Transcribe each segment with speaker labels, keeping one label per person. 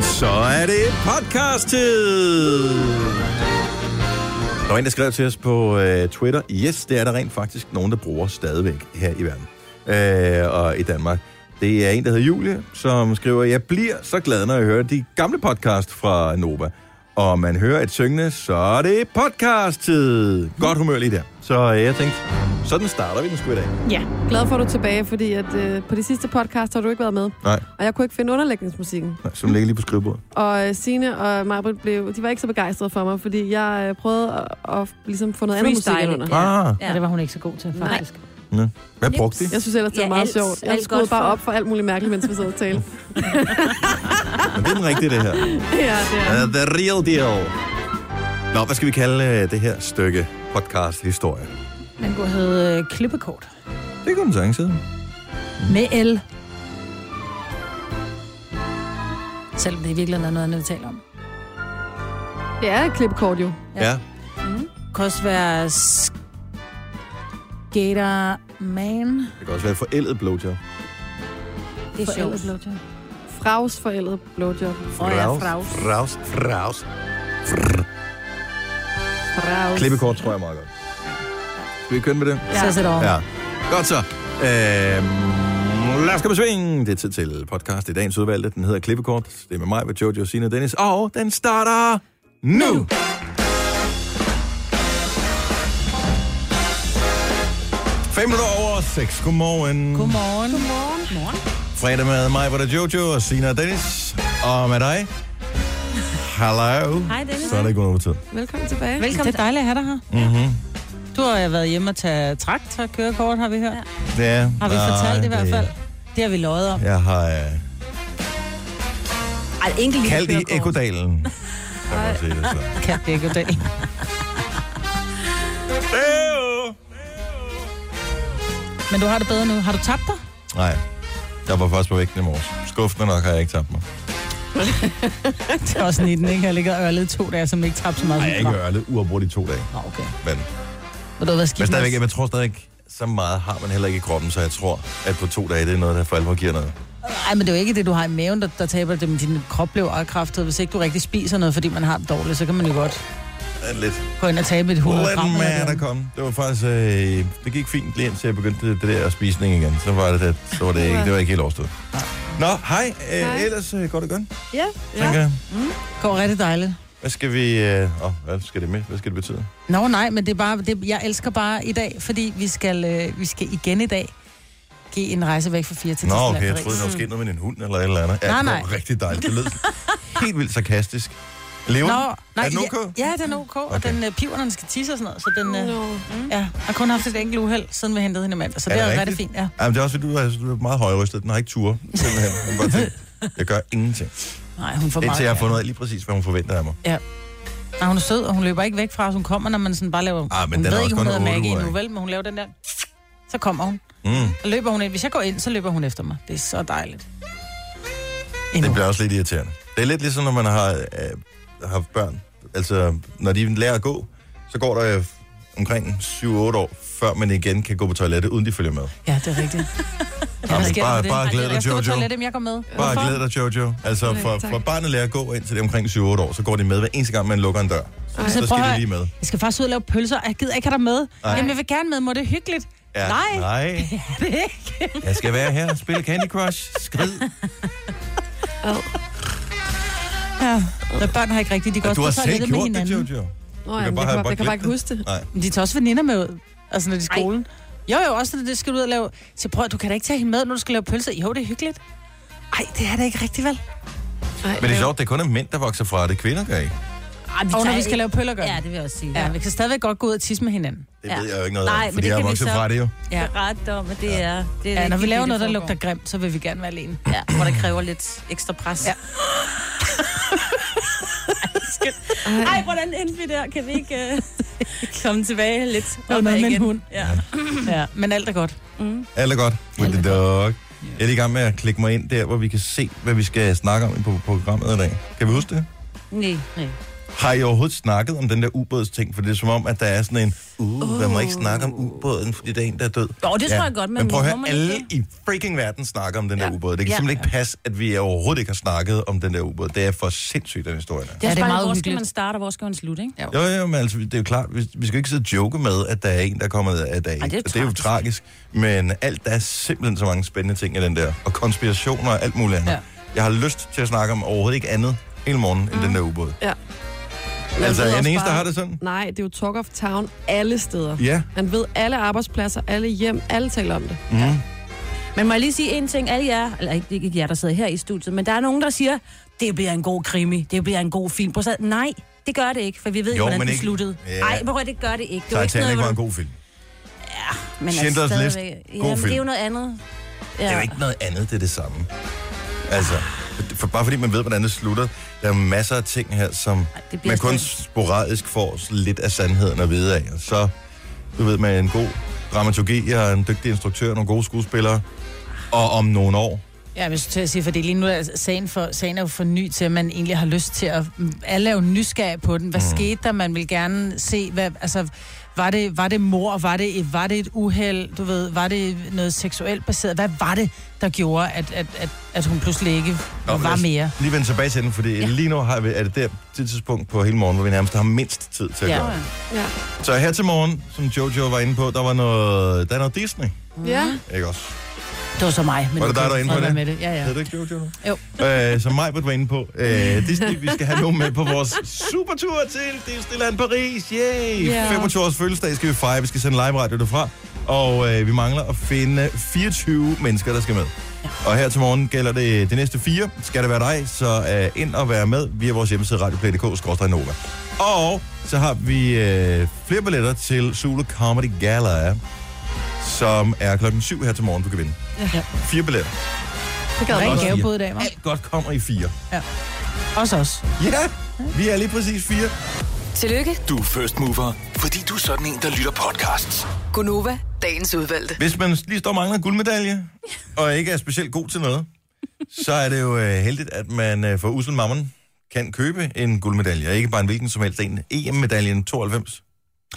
Speaker 1: er det podcast-tid!
Speaker 2: Der var en, der skrev til os på øh, Twitter, yes, det er der rent faktisk nogen, der bruger stadigvæk her i verden øh, og i Danmark. Det er en, der hedder Julie, som skriver, jeg bliver så glad, når jeg hører de gamle podcast fra Nova. Og man hører et syngende, så er det podcast-tid. Godt humør lige der. Så øh, jeg tænkte, sådan starter vi den sgu i dag.
Speaker 3: Ja, glad for, at du er tilbage, fordi at, øh, på de sidste podcast har du ikke været med.
Speaker 2: Nej,
Speaker 3: Og jeg kunne ikke finde underlægningsmusikken.
Speaker 2: nej som ligger lige på skrivebordet.
Speaker 3: Og øh, Signe og Marbrit blev, de var ikke så begejstrede for mig, fordi jeg øh, prøvede at, at ligesom få noget andet musik
Speaker 4: Freestyle.
Speaker 3: ind under.
Speaker 2: Ah.
Speaker 4: Ja. Ah,
Speaker 5: Ja. Det var hun ikke så god til, faktisk. Nej.
Speaker 2: Ja. Hvad brugte de?
Speaker 3: Jeg synes ellers, det var
Speaker 4: Ja,
Speaker 3: meget
Speaker 4: alt-
Speaker 3: sjovt. Jeg
Speaker 4: alt
Speaker 3: skruede
Speaker 4: godt
Speaker 3: bare
Speaker 4: for-
Speaker 3: op for alt muligt mærkeligt, mens vi sad og talte.
Speaker 2: Men det er den rigtige, det her.
Speaker 3: ja, det er.
Speaker 2: Uh, the real deal. Nå, hvad skal vi kalde uh, det her stykke podcast-historie?
Speaker 5: Den kunne hedde øh, Klippekort.
Speaker 2: Det kunne den sagtens hedde.
Speaker 5: Med L. Selvom det i virkeligheden er noget andet, vi taler om.
Speaker 3: Det er et klipkort jo.
Speaker 2: Ja. ja.
Speaker 5: Det kan også være Skater Man.
Speaker 2: Det kan også være forældet blowjob.
Speaker 4: Det er sjovt.
Speaker 3: Fraus forældet blowjob.
Speaker 5: Og jeg er fraus.
Speaker 2: Fraus. Fraus.
Speaker 3: Fraus.
Speaker 2: Klippekort tror jeg meget godt. Skal vi køre med det?
Speaker 5: Ja. Så sætter over. Ja.
Speaker 2: Ja. Godt så. Øhm, lad os komme i sving. Det er tid til podcast i dagens udvalgte. Den hedder Klippekort. Det er med mig, med Jojo, Sina og Dennis. Og den starter nu. nu. Fem minutter over seks. Godmorgen.
Speaker 5: Godmorgen. Godmorgen.
Speaker 2: Fredag med mig, hvor der er Jojo og Sina og Dennis. Og med dig. Hello.
Speaker 4: Hej, Dennis.
Speaker 2: Så er der ikke nogen tid.
Speaker 3: Velkommen tilbage.
Speaker 4: Velkommen
Speaker 5: Det er dejligt at have dig her.
Speaker 2: Mm-hmm.
Speaker 5: Du har jo været hjemme og tage trakt og kørekort, har vi hørt.
Speaker 4: Ja.
Speaker 2: Ja,
Speaker 5: Har vi
Speaker 2: nej,
Speaker 5: fortalt det i hvert fald? Det har vi løjet om.
Speaker 2: Jeg har øh,
Speaker 4: Ej, enkelt lille
Speaker 2: kaldt i
Speaker 4: kørekort.
Speaker 2: ekodalen. Så kan man sige det sådan.
Speaker 5: Kan det ikke i dag. Men du har det bedre nu. Har du tabt dig?
Speaker 2: Nej, jeg var først på vægten i morges. Skuffende nok har jeg ikke tabt mig.
Speaker 5: Det er også 19, ikke? Jeg ligger og ørlet i to dage, som ikke tabte så meget.
Speaker 2: Nej, jeg
Speaker 5: som
Speaker 2: har
Speaker 5: du var.
Speaker 2: ikke ørlet uafbrudt i to dage.
Speaker 5: Nå, okay.
Speaker 2: Men,
Speaker 5: Men du har været skidt
Speaker 2: men
Speaker 5: med-
Speaker 2: stadigvæk, jeg tror stadigvæk, så meget har man heller ikke i kroppen, så jeg tror, at på to dage, det er noget, der for alvor giver noget.
Speaker 5: Ej, men det er jo ikke det, du har i maven, der, der taber det, men din krop bliver afkræftet. Hvis ikke du rigtig spiser noget, fordi man har det dårligt, så kan man jo godt
Speaker 2: Øh, Lidt.
Speaker 5: gå ind og tabe et 100
Speaker 2: Let
Speaker 5: gram. eller
Speaker 2: man
Speaker 5: noget.
Speaker 2: der kom. Det var faktisk, øh, det gik fint lige indtil jeg begyndte det, det der spisning igen. Så var det, det, så var det, ikke, det var ikke helt overstået. Nå, hej. Øh,
Speaker 3: Hej.
Speaker 2: ellers øh, går det godt,
Speaker 3: Ja.
Speaker 2: tænker jeg.
Speaker 5: Går rigtig dejligt.
Speaker 2: Hvad skal vi... Øh, åh, hvad skal det med? Hvad skal det betyde?
Speaker 5: Nå nej, men det er bare, det, jeg elsker bare i dag, fordi vi skal, øh, vi skal igen i dag give en rejse væk fra 4 til
Speaker 2: Nå,
Speaker 5: 10.
Speaker 2: okay, jeg troede, der var sket noget med din hund eller et eller andet. Ja,
Speaker 5: Nej,
Speaker 2: det var
Speaker 5: nej.
Speaker 2: rigtig dejligt. Det lød helt vildt sarkastisk. Lever den?
Speaker 5: Nå, nej,
Speaker 2: Er den okay?
Speaker 5: Ja, ja, den er okay, okay. og
Speaker 2: Okay.
Speaker 5: den øh, piver, når den skal tisse og sådan noget, så den øh,
Speaker 3: Nå.
Speaker 5: ja, har kun haft et enkelt uheld, siden vi hentede hende i mandag, så
Speaker 2: Er
Speaker 5: det
Speaker 2: det
Speaker 5: har været rigtig
Speaker 2: rigtigt?
Speaker 5: fint, ja.
Speaker 2: Jamen, det er også, fordi du er, du er meget højrystet. Den har ikke tur, simpelthen. Hun bare tænkt, jeg gør ingenting.
Speaker 5: Nej, hun får meget.
Speaker 2: Indtil jeg har
Speaker 5: ja.
Speaker 2: fundet ud af lige præcis, hvad hun forventer af mig.
Speaker 5: Nej, hun er sød, og hun løber ikke væk fra os. Hun kommer, når man sådan bare laver...
Speaker 2: Ah, men
Speaker 5: hun
Speaker 2: den er
Speaker 5: ved
Speaker 2: også
Speaker 5: ikke,
Speaker 2: kun
Speaker 5: hun hedder
Speaker 2: otte
Speaker 5: Maggie
Speaker 2: uger,
Speaker 5: endnu,
Speaker 2: ikke?
Speaker 5: vel? Men hun laver den der... Så kommer hun.
Speaker 2: Mm.
Speaker 5: Så løber hun ind. Hvis jeg går ind, så løber hun efter mig. Det er så dejligt. Endnu.
Speaker 2: Det bliver også lidt irriterende. Det er lidt ligesom, når man har øh, haft børn. Altså, når de lærer at gå, så går der øh, omkring 7-8 år, før man igen kan gå på toilettet, uden de følger med.
Speaker 5: Ja, det er rigtigt.
Speaker 2: Jamen,
Speaker 5: sker der
Speaker 2: bare-
Speaker 5: for det?
Speaker 2: bare glæd dig,
Speaker 5: Jeg skal på
Speaker 2: Jojo.
Speaker 5: toilettet, men jeg går med.
Speaker 2: Bare glæd dig, Jojo. Altså,
Speaker 3: Nej,
Speaker 2: fra,
Speaker 3: tak.
Speaker 2: fra barnet lærer at gå, indtil det er omkring 7-8 år, så går de med hver eneste gang, man lukker en dør. Så,
Speaker 3: Ej.
Speaker 2: så skal
Speaker 5: prøv
Speaker 2: de
Speaker 5: at-
Speaker 2: lige med.
Speaker 5: Jeg skal faktisk ud og lave pølser. Jeg gider ikke have dig med.
Speaker 2: Nej.
Speaker 5: Jamen, jeg vil gerne med. Må det hyggeligt?
Speaker 2: Ja,
Speaker 5: Nej.
Speaker 2: nej.
Speaker 5: Det er ikke.
Speaker 2: Jeg skal være her og spille Candy Crush. Skrid.
Speaker 3: Ad.
Speaker 5: Ja. Men børn har ikke rigtigt. De går
Speaker 2: Du
Speaker 5: også
Speaker 2: har
Speaker 5: på
Speaker 2: selv
Speaker 5: toilettet med
Speaker 2: gjort det,
Speaker 5: hinanden.
Speaker 2: Jojo.
Speaker 3: Nå,
Speaker 2: kan
Speaker 3: jamen,
Speaker 2: bare
Speaker 3: jeg
Speaker 2: have
Speaker 3: kan, bare,
Speaker 2: bare
Speaker 3: jeg kan bare ikke
Speaker 2: glemt
Speaker 3: huske det.
Speaker 2: Nej.
Speaker 5: Men De tager også veninder med ud. Altså, når de er i skolen. Jo, jo, også når det skal du ud og lave... Så prøv, du kan da ikke tage hende med, når du skal lave pølser. Jo, det er hyggeligt. Ej, det er da ikke rigtigt, vel?
Speaker 3: Nej,
Speaker 2: Men det er sjovt, det er kun er mænd, der vokser fra det. Kvinder gør ikke.
Speaker 4: Ej, vi
Speaker 5: Og når
Speaker 4: tager
Speaker 5: vi skal
Speaker 4: ikke-
Speaker 5: lave pølser, gør
Speaker 4: Ja,
Speaker 5: ja,
Speaker 4: det vil jeg også sige.
Speaker 5: ja, vi kan stadigvæk godt gå ud og tisse med hinanden.
Speaker 2: Det
Speaker 4: Ja.
Speaker 2: ved jeg jo ikke noget
Speaker 4: Nej,
Speaker 2: om,
Speaker 4: men
Speaker 2: fordi
Speaker 4: det
Speaker 2: jeg
Speaker 4: kan
Speaker 2: har
Speaker 4: vi
Speaker 2: vokset
Speaker 4: så-
Speaker 2: fra det jo.
Speaker 4: Ja. Ret om, at det er... Det er
Speaker 5: Ja, når
Speaker 4: ikke
Speaker 5: vi laver
Speaker 4: det,
Speaker 5: noget, der
Speaker 4: foregår.
Speaker 5: lugter grimt, så vil vi gerne være alene.
Speaker 4: Ja, hvor der kræver lidt ekstra pres.
Speaker 5: Ja.
Speaker 4: Ja. Ej, hvordan endte vi der? Kan vi ikke uh, komme tilbage lidt
Speaker 5: var
Speaker 4: op
Speaker 5: noget med en
Speaker 4: igen? Mm.
Speaker 5: hund.
Speaker 4: Ja.
Speaker 5: Ja, men alt er godt.
Speaker 2: Alt er godt. With the dog. Jeg er lige i gang med at klikke mig ind der, hvor vi kan se, hvad vi skal snakke om på programmet i dag. Kan vi huske det?
Speaker 4: Nej, nej.
Speaker 2: Har I overhovedet snakket om den der ubådsting? For det er som om, at der er sådan en, uh, uh. man må ikke snakke om ubåden, fordi der er en, der er død.
Speaker 4: Jo, det tror jeg godt, men
Speaker 2: Men prøv at
Speaker 4: må
Speaker 2: høre,
Speaker 4: man
Speaker 2: alle
Speaker 4: ikke
Speaker 2: i freaking verden snakker om den der
Speaker 3: Ja.
Speaker 2: ubåd. Det kan
Speaker 5: Ja.
Speaker 2: simpelthen ikke passe, at vi overhovedet ikke har snakket om den der ubåd. Det er for sindssygt, den historie der.
Speaker 4: Det er,
Speaker 5: Ja,
Speaker 4: ja,
Speaker 5: det er meget
Speaker 4: meget hvor skal
Speaker 5: uhyggeligt.
Speaker 4: man starte, og hvor skal man slutte, ikke?
Speaker 5: Ja.
Speaker 2: Jo, jo, men altså, det er jo klart, vi, vi skal ikke sidde og joke med, at der er en, der kommer af dag.
Speaker 4: Ej, det er jo
Speaker 2: det er jo tragisk. Men alt, der er simpelthen så mange spændende ting i den der. Og konspirationer og alt muligt andet. Ja.
Speaker 5: Ja.
Speaker 2: Jeg har lyst til at snakke om overhovedet ikke andet hele morgen mm. end den der ubåd.
Speaker 3: Ja.
Speaker 2: Altså, er
Speaker 3: ved
Speaker 2: jeg den
Speaker 3: også
Speaker 2: eneste, der
Speaker 3: bare-
Speaker 2: har det sådan?
Speaker 3: Nej, det er jo talk of town alle steder.
Speaker 2: Ja.
Speaker 3: Man ved alle arbejdspladser, alle hjem, alle taler om det.
Speaker 2: Mm.
Speaker 4: Men må jeg lige sige en ting, alle jer, eller ikke, det er ikke jer, der sidder her i studiet, men der er nogen, der siger, det bliver en god krimi, det bliver en god film. Prøv at sige, Nej, det gør det ikke, for vi ved jo, hvordan
Speaker 2: men
Speaker 4: den
Speaker 2: ikke-
Speaker 4: sluttede.
Speaker 2: Ja.
Speaker 4: Nej, hvor det gør det ikke. Det er jo ikke
Speaker 2: Titanic
Speaker 4: sådan
Speaker 2: var
Speaker 4: noget,
Speaker 2: en
Speaker 4: hvor
Speaker 2: god film.
Speaker 4: du- men altså,
Speaker 2: Schindlers List.
Speaker 4: stadigvæk-
Speaker 2: God
Speaker 4: Jamen, det er jo
Speaker 2: film.
Speaker 4: noget andet.
Speaker 2: Det er jo ikke noget andet, det er det samme. Altså, for, bare fordi man ved, hvordan det slutter, der er masser af ting her, som
Speaker 4: det bliver
Speaker 2: man kun
Speaker 4: stadig-
Speaker 2: sporadisk får lidt af sandheden at vide af. Og så, du ved, med en god dramaturgi og en dygtig instruktør og nogle gode skuespillere, og om nogle år.
Speaker 5: Ja, men jeg skulle til at sige, fordi lige nu er sagen, for, sagen er jo for ny til, at man egentlig har lyst til at... Alle er jo nysgerrige på den. Hvad mm. skete der? Man vil gerne se, hvad... Altså, var det, var det mor? Var det, var det et uheld? Du ved, var det noget seksuelt baseret? Hvad var det, der gjorde, at, at, at, at hun pludselig ikke Nå,
Speaker 2: men
Speaker 5: var
Speaker 2: lad os
Speaker 5: mere?
Speaker 2: Lige vende tilbage til den, fordi ja. lige nu har vi, er det der det tidspunkt på hele morgen, hvor vi nærmest har mindst tid til at ja.
Speaker 5: Ja.
Speaker 2: gøre det.
Speaker 3: Ja.
Speaker 2: Så her til morgen, som Jojo var inde på, der var noget, der er noget Disney,
Speaker 3: ja.
Speaker 2: ikke også?
Speaker 5: Det var så mig. Men
Speaker 2: Var det
Speaker 5: nu
Speaker 2: dig,
Speaker 5: kan
Speaker 2: der er inde
Speaker 5: fred
Speaker 2: på
Speaker 5: være
Speaker 2: det?
Speaker 5: Med det? Ja, ja.
Speaker 2: Hedder det ikke Jojo nu?
Speaker 5: Jo.
Speaker 2: Øh, som Majbert var inde på. Øh, Disney, vi skal have nogen med på vores supertur til Disneyland Paris. Yay!
Speaker 3: Ja.
Speaker 2: Yeah. 25 års fødselsdag skal vi fejre. Vi skal sende live radio derfra. Og øh, vi mangler at finde 24 mennesker, der skal med. Og her til morgen gælder det de næste fire. Skal det være dig, så øh, ind og være med via vores hjemmeside radioplay.dk-nova. Og så har vi øh, flere billetter til Zulu Comedy Gala, som er klokken 7 her til morgen, du kan vinde.
Speaker 5: Ja.
Speaker 2: Fire billetter.
Speaker 5: Det gad
Speaker 2: godt.
Speaker 5: en gavebod i dag, var?
Speaker 2: Alt godt kommer i fire.
Speaker 5: Også os.
Speaker 2: Ja, vi er lige præcis fire.
Speaker 6: Tillykke,
Speaker 7: Du er first mover, fordi du er sådan en, der lytter podcasts.
Speaker 6: Gunova, dagens udvalgte.
Speaker 2: Hvis man lige står og mangler en guldmedalje, og ikke er specielt god til noget, så er det jo øh, heldigt, at man øh, for Ussel Mammon kan købe en guldmedalje, og ikke bare en hvilken som helst en. EM-medaljen 92.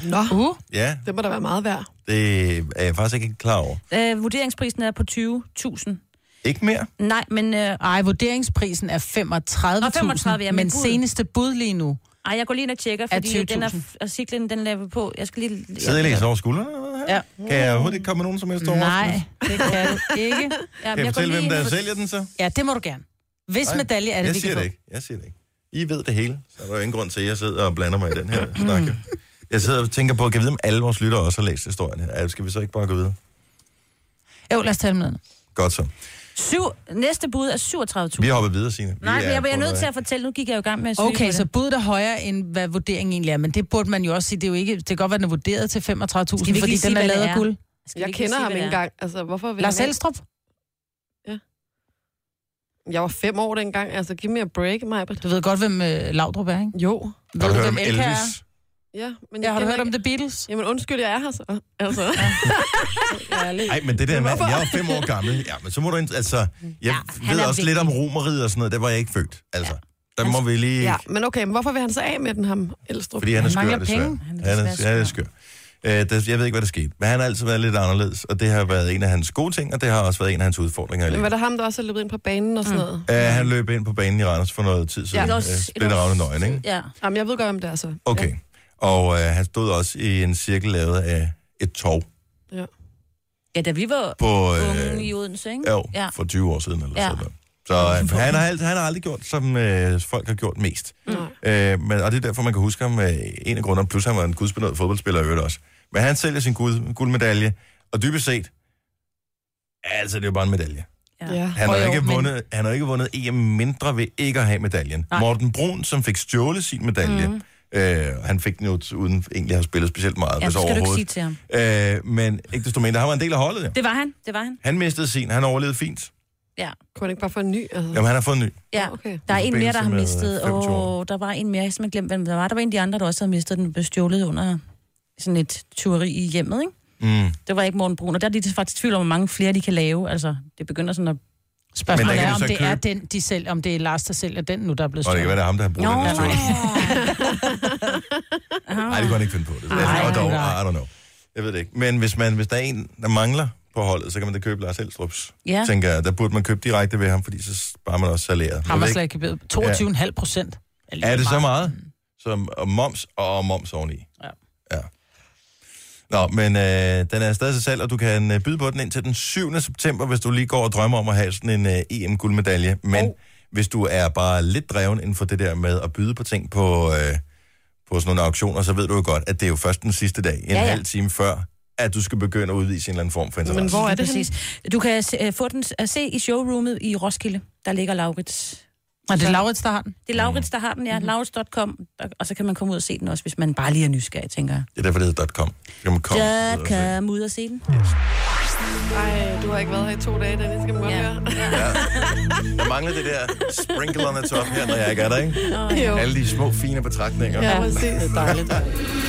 Speaker 3: Nå,
Speaker 5: Uh,
Speaker 2: Ja,
Speaker 3: det må da være meget værd.
Speaker 2: det er jeg faktisk ikke klar over.
Speaker 4: Øh, vurderingsprisen er på 20.000.
Speaker 2: Ikke mere?
Speaker 4: Nej, men... Øh,
Speaker 5: ej, vurderingsprisen er 35.000,
Speaker 4: Nå, 35, ja, men
Speaker 5: men
Speaker 4: bud.
Speaker 5: seneste bud lige nu.
Speaker 4: ej, jeg går lige ind og tjekker, fordi
Speaker 5: 20.000.
Speaker 4: den er, artiklen, den laver på. Jeg skal lige...
Speaker 2: Sidder jeg læser over skuldrene? eller hvad her?
Speaker 5: Ja.
Speaker 2: Kan jeg overhovedet ikke komme med nogen som helst
Speaker 5: Nej,
Speaker 2: overraskelse?
Speaker 5: det kan du ikke.
Speaker 4: Ja, men
Speaker 2: Kan jeg
Speaker 4: går
Speaker 2: fortælle,
Speaker 4: lige
Speaker 2: hvem
Speaker 4: ind
Speaker 2: der
Speaker 4: og-
Speaker 2: sælger den så?
Speaker 5: Ja, det må du gerne. Hvis
Speaker 2: Nej,
Speaker 5: medalje er det,
Speaker 2: Jeg
Speaker 5: vi kan
Speaker 2: siger
Speaker 5: få.
Speaker 2: det ikke. Jeg siger det ikke. I ved det hele, så er der jo ingen grund til, at jeg sidder og blander mig i den her snak. Jeg sidder og tænker på, kan jeg vide, om alle vores lyttere også har læst historien her? Ej, Skal vi så ikke bare gå videre?
Speaker 5: Jo, lad os tale med den.
Speaker 2: Godt så.
Speaker 4: Syv, næste bud er 37.000.
Speaker 2: Vi hopper videre, Signe. Vi
Speaker 4: Nej, men
Speaker 2: er
Speaker 4: jeg bliver
Speaker 2: under-
Speaker 4: nødt til at fortælle. Nu gik jeg jo i gang med at søge
Speaker 5: Okay,
Speaker 4: på
Speaker 5: så
Speaker 4: det.
Speaker 5: budet er højere, end hvad vurderingen egentlig er, men det burde man jo også sige. Det, er jo ikke, det kan godt være, den er vurderet til 35.000,
Speaker 4: vi ikke
Speaker 5: fordi
Speaker 4: lige sige,
Speaker 5: den er
Speaker 4: hvad
Speaker 5: lavet
Speaker 4: det
Speaker 5: af
Speaker 4: er?
Speaker 5: guld.
Speaker 4: Skal vi
Speaker 3: Jeg
Speaker 4: ikke lige
Speaker 3: kender
Speaker 4: sige,
Speaker 3: ham
Speaker 4: hvad
Speaker 3: ikke
Speaker 4: det er?
Speaker 3: engang. Altså, hvorfor vil
Speaker 5: Lars
Speaker 3: han
Speaker 5: Elstrup?
Speaker 3: ikke? Jeg var fem år dengang. Altså, give me a break, Majbrit.
Speaker 5: Du ved godt, hvem øh, Laudrup er, ikke?
Speaker 3: Jo.
Speaker 2: Har
Speaker 5: Ved
Speaker 2: du
Speaker 5: du,
Speaker 2: hørt
Speaker 5: hvem
Speaker 2: om
Speaker 5: Elka
Speaker 2: Elvis?
Speaker 5: er?
Speaker 3: Ja, men
Speaker 5: Ja,
Speaker 3: jeg
Speaker 5: har du
Speaker 3: kender
Speaker 5: hørt om
Speaker 3: ikke-
Speaker 5: The Beatles?
Speaker 3: Jamen, undskyld, jeg er her så. Altså.
Speaker 2: Nej, men det der med, jeg er jo fem år gammel. Ja, men så må du ind, altså, jeg ja,
Speaker 4: han
Speaker 2: ved
Speaker 4: er
Speaker 2: også
Speaker 4: vigtig.
Speaker 2: lidt om romeriet og sådan noget. Der var jeg ikke født, altså. Ja. Der må vi lige... Ja.
Speaker 3: Ja, men okay, men hvorfor vil han så af med den, ham Elstrup?
Speaker 2: Fordi han er
Speaker 5: Han
Speaker 2: skør,
Speaker 5: mangler
Speaker 2: desværre.
Speaker 5: penge.
Speaker 2: Han
Speaker 5: Han
Speaker 2: er,
Speaker 5: er
Speaker 2: han er,
Speaker 5: desværre
Speaker 2: han er skør. Øh, der, jeg ved ikke, hvad der skete. Men han har altid været lidt anderledes, og det har været en af hans gode ting, og det har også været en af hans udfordringer i
Speaker 3: Men
Speaker 2: livet.
Speaker 3: var det ham, der også er løbet ind på banen og sådan noget?
Speaker 2: Uh, han løb ind på banen i Randers for noget tid siden.
Speaker 4: Et
Speaker 2: Ja,
Speaker 4: års- et
Speaker 2: Splinter
Speaker 4: års-
Speaker 2: Ravne Nøgen, ikke?
Speaker 4: Ja.
Speaker 3: Jamen, jeg ved godt, om det er så.
Speaker 2: Okay. Og øh, han stod også i en cirkel lavet af et tog
Speaker 3: Ja.
Speaker 4: ja, da vi var
Speaker 2: på,
Speaker 4: unge
Speaker 2: øh,
Speaker 4: i Odense, ikke?
Speaker 2: jo,
Speaker 4: Ja.
Speaker 2: for 20 år siden. Eller
Speaker 4: Ja.
Speaker 2: ja. sådan noget. Så øh, han, har, alt- han har aldrig gjort, som øh, folk har gjort mest. Mm. Øh, men, og det er derfor, man kan huske ham øh, en af grundene. Plus han var en gudsbenået fodboldspiller i øvrigt også. Men han sælger sin guld, guldmedalje, og dybest set, altså det er jo bare en medalje.
Speaker 3: ja.
Speaker 2: Han har,
Speaker 5: Jo, jo,
Speaker 2: ikke
Speaker 5: men-
Speaker 2: vundet, han har ikke vundet EM mindre ved ikke at have medaljen. Nej. Morten Brun, som fik stjålet sin medalje,
Speaker 4: Mhm.
Speaker 2: mm. øh, han fik den jo t- uden egentlig at have spillet specielt meget,
Speaker 4: Ja,
Speaker 2: hvis
Speaker 4: det skal du ikke sige
Speaker 2: overhovedet.
Speaker 4: til ham.
Speaker 2: Øh, men ikke desto mindre, han var en del af holdet, ja.
Speaker 4: Det var han, det var han.
Speaker 2: Han mistede sin, han overlevede fint.
Speaker 4: Ja.
Speaker 3: Kunne han ikke bare få en ny? Altså?
Speaker 2: Jamen, han har fået en ny.
Speaker 4: Ja,
Speaker 3: Okay.
Speaker 4: der er en mere, der har
Speaker 2: forbindelse med
Speaker 4: mistet.
Speaker 2: 25
Speaker 4: Åh,
Speaker 2: år.
Speaker 4: oh, der var en mere, jeg har simpelthen glemt, hvem der var. Der var en af de andre, der også havde mistet den blev stjålet under sådan et tyveri i hjemmet, ikke?
Speaker 2: Mm.
Speaker 4: Det var ikke Morten Brun, og der er de faktisk i tvivl om, hvor mange flere de kan lave. Altså, det begynder sådan at
Speaker 2: Men
Speaker 5: Spørgsmålet
Speaker 2: der kan
Speaker 5: er,
Speaker 2: du
Speaker 5: om
Speaker 2: så
Speaker 5: det
Speaker 2: købe-
Speaker 5: er den, de sælger, om det er Lars, der sælger den nu, der er blevet
Speaker 2: Og det kan være,
Speaker 5: stjålet.
Speaker 2: det er ham, der har brugt den her stol. Nej, det kunne han ikke finde på. Det. Nej,
Speaker 5: Nej,
Speaker 2: altså, dog,
Speaker 5: nej.
Speaker 2: I don't know. Jeg ved det ikke. Men hvis, man, hvis der er en, der mangler på holdet, så kan man da købe Lars Elstrup's.
Speaker 4: Ja.
Speaker 2: Tænker jeg, der burde man købe direkte ved ham, fordi så sparer man også salæret.
Speaker 5: Ham
Speaker 2: Jeg
Speaker 5: har
Speaker 2: ved ikke,
Speaker 5: slet ikke 22,5 procent.
Speaker 2: er det så meget? Som og moms og moms oveni.
Speaker 5: Ja.
Speaker 2: ja. Nå, men øh, den er stadig til salg, og du kan øh, byde på den indtil den 7. september, hvis du lige går og drømmer om at have sådan en øh, EM-guldmedalje. Men oh. hvis du er bare lidt dreven inden for det der med at byde på ting på, øh, på sådan nogle auktioner, så ved du jo godt, at det er jo først den sidste dag, en ja,
Speaker 4: Ja,
Speaker 2: ja.
Speaker 4: ja.
Speaker 2: halv time før, at du skal begynde at udvise en eller anden form for interesse.
Speaker 3: Men hvor er det henne?
Speaker 4: Præcis. Du kan se, øh, få den s- at se i showroomet i Roskilde. Der ligger Laurits.
Speaker 5: Og det er Laurits, der har den.
Speaker 4: Det er Laurits, der har den, ja. Laurits.com. Og- Og så kan man komme ud og se den også, hvis man bare lige er nysgerrig, tænker jeg.
Speaker 2: Det er derfor, det hedder .com. Så kan man komme
Speaker 4: Så
Speaker 2: videre og se.
Speaker 4: kan man ud og se den.
Speaker 3: Ej, du har ikke været her i to dage, Dennis, skal man godt
Speaker 4: Ja.
Speaker 3: høre.
Speaker 2: Der mangler det der sprinkle on the top her, når jeg ikke er der, ikke?
Speaker 3: Jo,
Speaker 2: Alle de små, fine betragtninger.
Speaker 3: ja, præcis.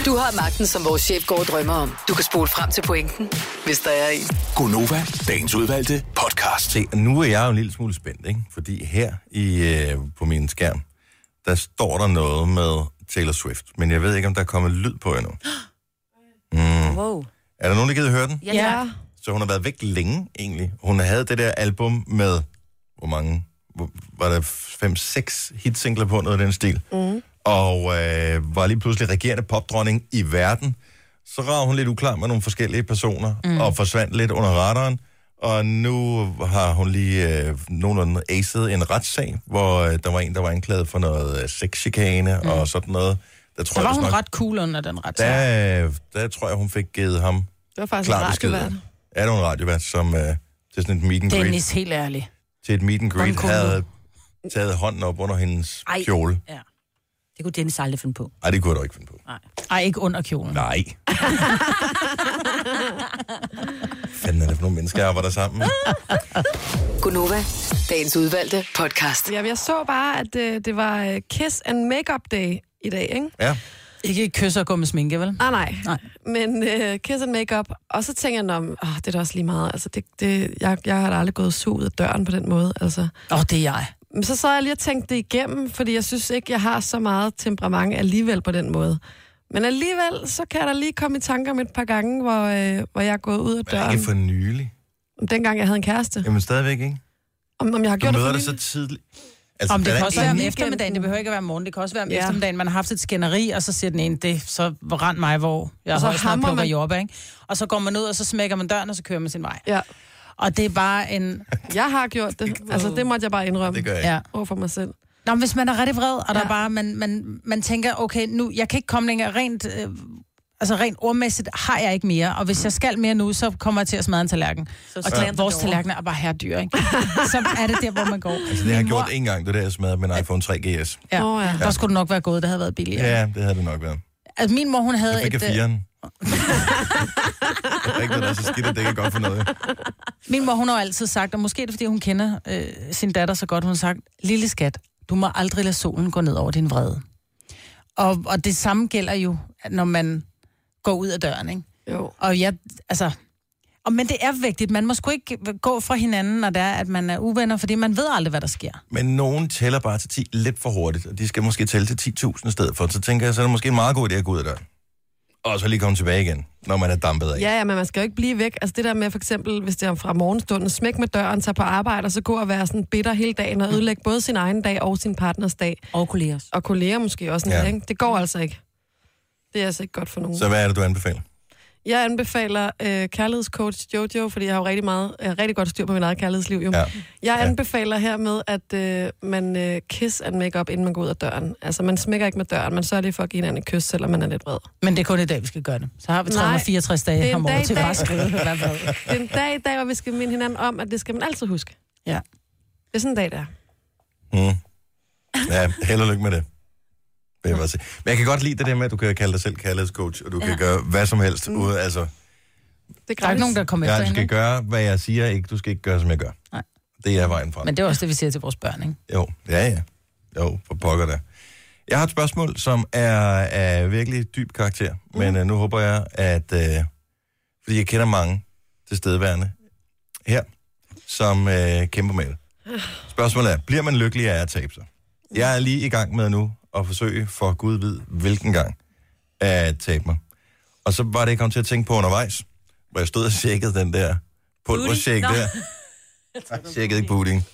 Speaker 6: Du har magten, som vores chef går og drømmer om. Du kan spole frem til pointen, hvis der er en.
Speaker 7: Gonova, dagens udvalgte podcast.
Speaker 2: Se, nu er jeg jo en lille smule spændt, ikke? Fordi her i, øh, på min skærm, der står der noget med Taylor Swift. Men jeg ved ikke, om der er kommet lyd på endnu.
Speaker 4: Wow.
Speaker 2: Er der nogen, der gider høre den?
Speaker 4: Ja,
Speaker 3: Ja,
Speaker 4: tak.
Speaker 2: Så hun har været væk længe, egentlig. Hun havde det der album med, hvor mange, hvor- var der 5-6 hitsingler på, noget af den stil. Mm. Og øh, var lige pludselig regerende popdronning i verden. Så rager hun lidt uklar med nogle forskellige personer,
Speaker 5: Mhm.
Speaker 2: mm. og forsvandt lidt under radaren. Og nu har hun lige øh, nogenlunde acet en retssag, hvor øh, der var en, der var anklaget for noget øh, sexchikane mm. og sådan noget. Der tror
Speaker 5: Mhm. Så var
Speaker 2: jeg,
Speaker 5: hun
Speaker 2: vist nok-
Speaker 5: ret cool under den ret.
Speaker 2: der, øh, der tror jeg, hun fik givet ham
Speaker 3: det var
Speaker 5: Altså,
Speaker 3: faktisk en
Speaker 2: klar besked.
Speaker 3: radiovært.
Speaker 2: Er du en radiovært, som øh, til sådan et meet and greet,
Speaker 5: Dennis, helt ærlig.
Speaker 2: til et meet and
Speaker 5: Hvordan
Speaker 2: greet
Speaker 5: kunne
Speaker 2: havde taget hånden op under hendes Ej.
Speaker 4: Ej.
Speaker 2: kjole?
Speaker 4: Ja. Det kunne Dennis aldrig finde på.
Speaker 2: Ej, det kunne jeg da ikke finde på.
Speaker 4: Nej.
Speaker 5: Ej, ikke under kjolen.
Speaker 2: Nej. Fanden er det for nogle mennesker, jeg arbejder sammen med?
Speaker 6: Gonova, dagens udvalgte podcast.
Speaker 3: Ja, men jeg så bare, at øh, det var øh, Kiss and Makeup Day i dag, ikke?
Speaker 2: Ja.
Speaker 5: Ikke kysse og gå med sminke, vel?
Speaker 3: Ah, nej.
Speaker 5: Nej.
Speaker 3: Men øh, kiss and makeup. Og så tænker jeg, om, oh, det er da også lige meget. Altså, det, det, jeg, jeg har da aldrig gået så ud af døren på den måde. Altså.
Speaker 5: Åh, oh, det er jeg.
Speaker 3: Men så sad jeg lige og tænkte det igennem, fordi jeg synes ikke, jeg har så meget temperament alligevel på den måde. Men alligevel, så kan jeg da lige komme i tanke om et par gange, hvor, øh, hvor jeg er gået ud af
Speaker 2: Men
Speaker 3: døren.
Speaker 2: ikke for nylig.
Speaker 3: Om Dengang jeg havde en kæreste.
Speaker 2: Jamen stadigvæk, ikke?
Speaker 3: Om, om jeg har
Speaker 2: Du
Speaker 3: gjort
Speaker 2: møder dig
Speaker 3: det for
Speaker 2: så
Speaker 3: nylig?
Speaker 2: tidligt. Altså, der
Speaker 5: Om det
Speaker 2: er
Speaker 5: kan
Speaker 2: der
Speaker 5: også være om
Speaker 2: ingen-
Speaker 5: eftermiddagen, det behøver ikke at være om morgenen, det kan også være om
Speaker 3: Ja.
Speaker 5: ja. eftermiddagen. Man har haft et skænderi, og så siger den ene, det, så rend mig, hvor jeg
Speaker 3: Og så
Speaker 5: har højst
Speaker 3: hamrer
Speaker 5: plukker
Speaker 3: man-
Speaker 5: man... jobber, ikke? Og så går man ud, og så smækker man døren, og så kører man sin vej.
Speaker 3: Ja,
Speaker 5: Og det er bare en...
Speaker 3: jeg har gjort det. Altså, det måtte jeg bare indrømme.
Speaker 2: Det gør jeg ikke.
Speaker 5: Ja.
Speaker 3: Over for mig selv.
Speaker 5: Nå, men hvis man er rigtig vred, og ja. der
Speaker 3: Ja.
Speaker 5: er bare, man, man, man tænker, okay, nu, jeg kan ikke komme længere rent... Øh, altså rent ordmæssigt har jeg ikke mere, og hvis jeg skal mere nu, så kommer jeg til at smadre en tallerken.
Speaker 4: Så
Speaker 5: Og ja. vores tallerkener er bare herredyr, ikke? så er det der, hvor man går.
Speaker 2: Altså, det har jeg gjort en gang, det der, jeg smadrede min iPhone 3 GS.
Speaker 5: Ja.
Speaker 3: Nå, ja.
Speaker 5: Der skulle det nok være gået, det havde været billigere.
Speaker 2: Ja, det havde det nok været.
Speaker 5: Altså, min mor, hun havde
Speaker 2: Jeg fik af
Speaker 5: et... øh,
Speaker 2: firen. Der er ikke noget, der er så skidt, at det ikke er godt for noget.
Speaker 5: Min mor, hun har jo altid sagt, og måske er det, fordi hun kender øh, sin datter så godt, hun har sagt, lille skat, du må aldrig lade solen gå ned over din vrede. Og, og det samme gælder jo, at når man går ud af døren, ikke?
Speaker 3: Jo.
Speaker 5: Og jeg, altså... Og, men det er vigtigt. Man må sgu ikke gå fra hinanden, når det er, at man er uvenner, fordi man ved aldrig, hvad der sker.
Speaker 2: Men nogen tæller bare til 10 lidt for hurtigt, og de skal måske tælle til 10.000 i stedet for. Så tænker jeg, så er det måske en meget god idé at gå ud af døren. Og så lige komme tilbage igen, når man er dampet af.
Speaker 3: Ja, ja, men man skal jo ikke blive væk. Altså det der med for eksempel, hvis det er fra morgenstunden, smæk med døren, tage på arbejde, og så gå og være sådan bitter hele dagen,
Speaker 2: Mm.
Speaker 3: og ødelægge både sin egen dag og sin partners dag,
Speaker 4: Og kolleger.
Speaker 3: og kolleger måske også.
Speaker 2: Ja.
Speaker 3: Ja. Ikke? Det går altså ikke. Det er altså ikke godt for nogen.
Speaker 2: Så
Speaker 3: Så...
Speaker 2: hvad er det, du anbefaler?
Speaker 3: Jeg anbefaler øh, kærlighedscoach Jojo, fordi jeg har jo rigtig, meget, jeg har rigtig godt styr på mit eget kærlighedsliv. Jo.
Speaker 2: Ja.
Speaker 3: Ja. Jeg anbefaler hermed, at øh, man øh, kiss and make up, inden man går ud af døren. Altså man smækker ikke med døren, man sørger lige for at give hinanden et kys, selvom man er lidt vred.
Speaker 5: Men det er kun i dag, vi skal gøre det. Så har vi
Speaker 3: Nej.
Speaker 5: 364
Speaker 3: Det er
Speaker 5: dage
Speaker 3: en
Speaker 5: om
Speaker 3: dag
Speaker 5: året
Speaker 3: i
Speaker 5: til bare
Speaker 3: dag.
Speaker 5: at skrive, hvad der er vred.
Speaker 3: Det er en dag i dag, hvor vi skal minde hinanden om, at det skal man altid huske.
Speaker 5: Ja.
Speaker 3: Det er sådan en dag, der er.
Speaker 2: Mm. Ja, held og lykke med det. Vil jeg bare sige. Men jeg kan godt lide det der med, at du kan kalde dig selv kærlighedscoach, og du ja. kan gøre hvad som helst. Ude, altså,
Speaker 3: Det er
Speaker 5: Der er ikke nogen, der kommer
Speaker 2: ja,
Speaker 5: efter
Speaker 2: du skal
Speaker 5: hende.
Speaker 2: gøre, hvad jeg siger, ikke? Du skal ikke gøre, som jeg gør.
Speaker 5: Nej.
Speaker 2: Det er vejen frem.
Speaker 5: Men det er også det, vi siger til vores børn, ikke?
Speaker 2: Jo, ja, ja. Jo, for pokker da. Jeg har et spørgsmål, som er af virkelig dyb karakter,
Speaker 4: Mhm.
Speaker 2: mm. men uh, nu håber jeg, at... Uh, fordi jeg kender mange tilstedeværende her, som uh, kæmper med det. Spørgsmålet er, bliver man lykkelig af at tabe sig? Jeg er lige i gang med nu at forsøge for Gud ved, hvilken gang at tabe mig. Og så var det, jeg kom til at tænke på undervejs, hvor jeg stod og tjekkede den der pulvershake
Speaker 4: Booty? Nå.
Speaker 2: der. Jeg tjekkede ikke pudding.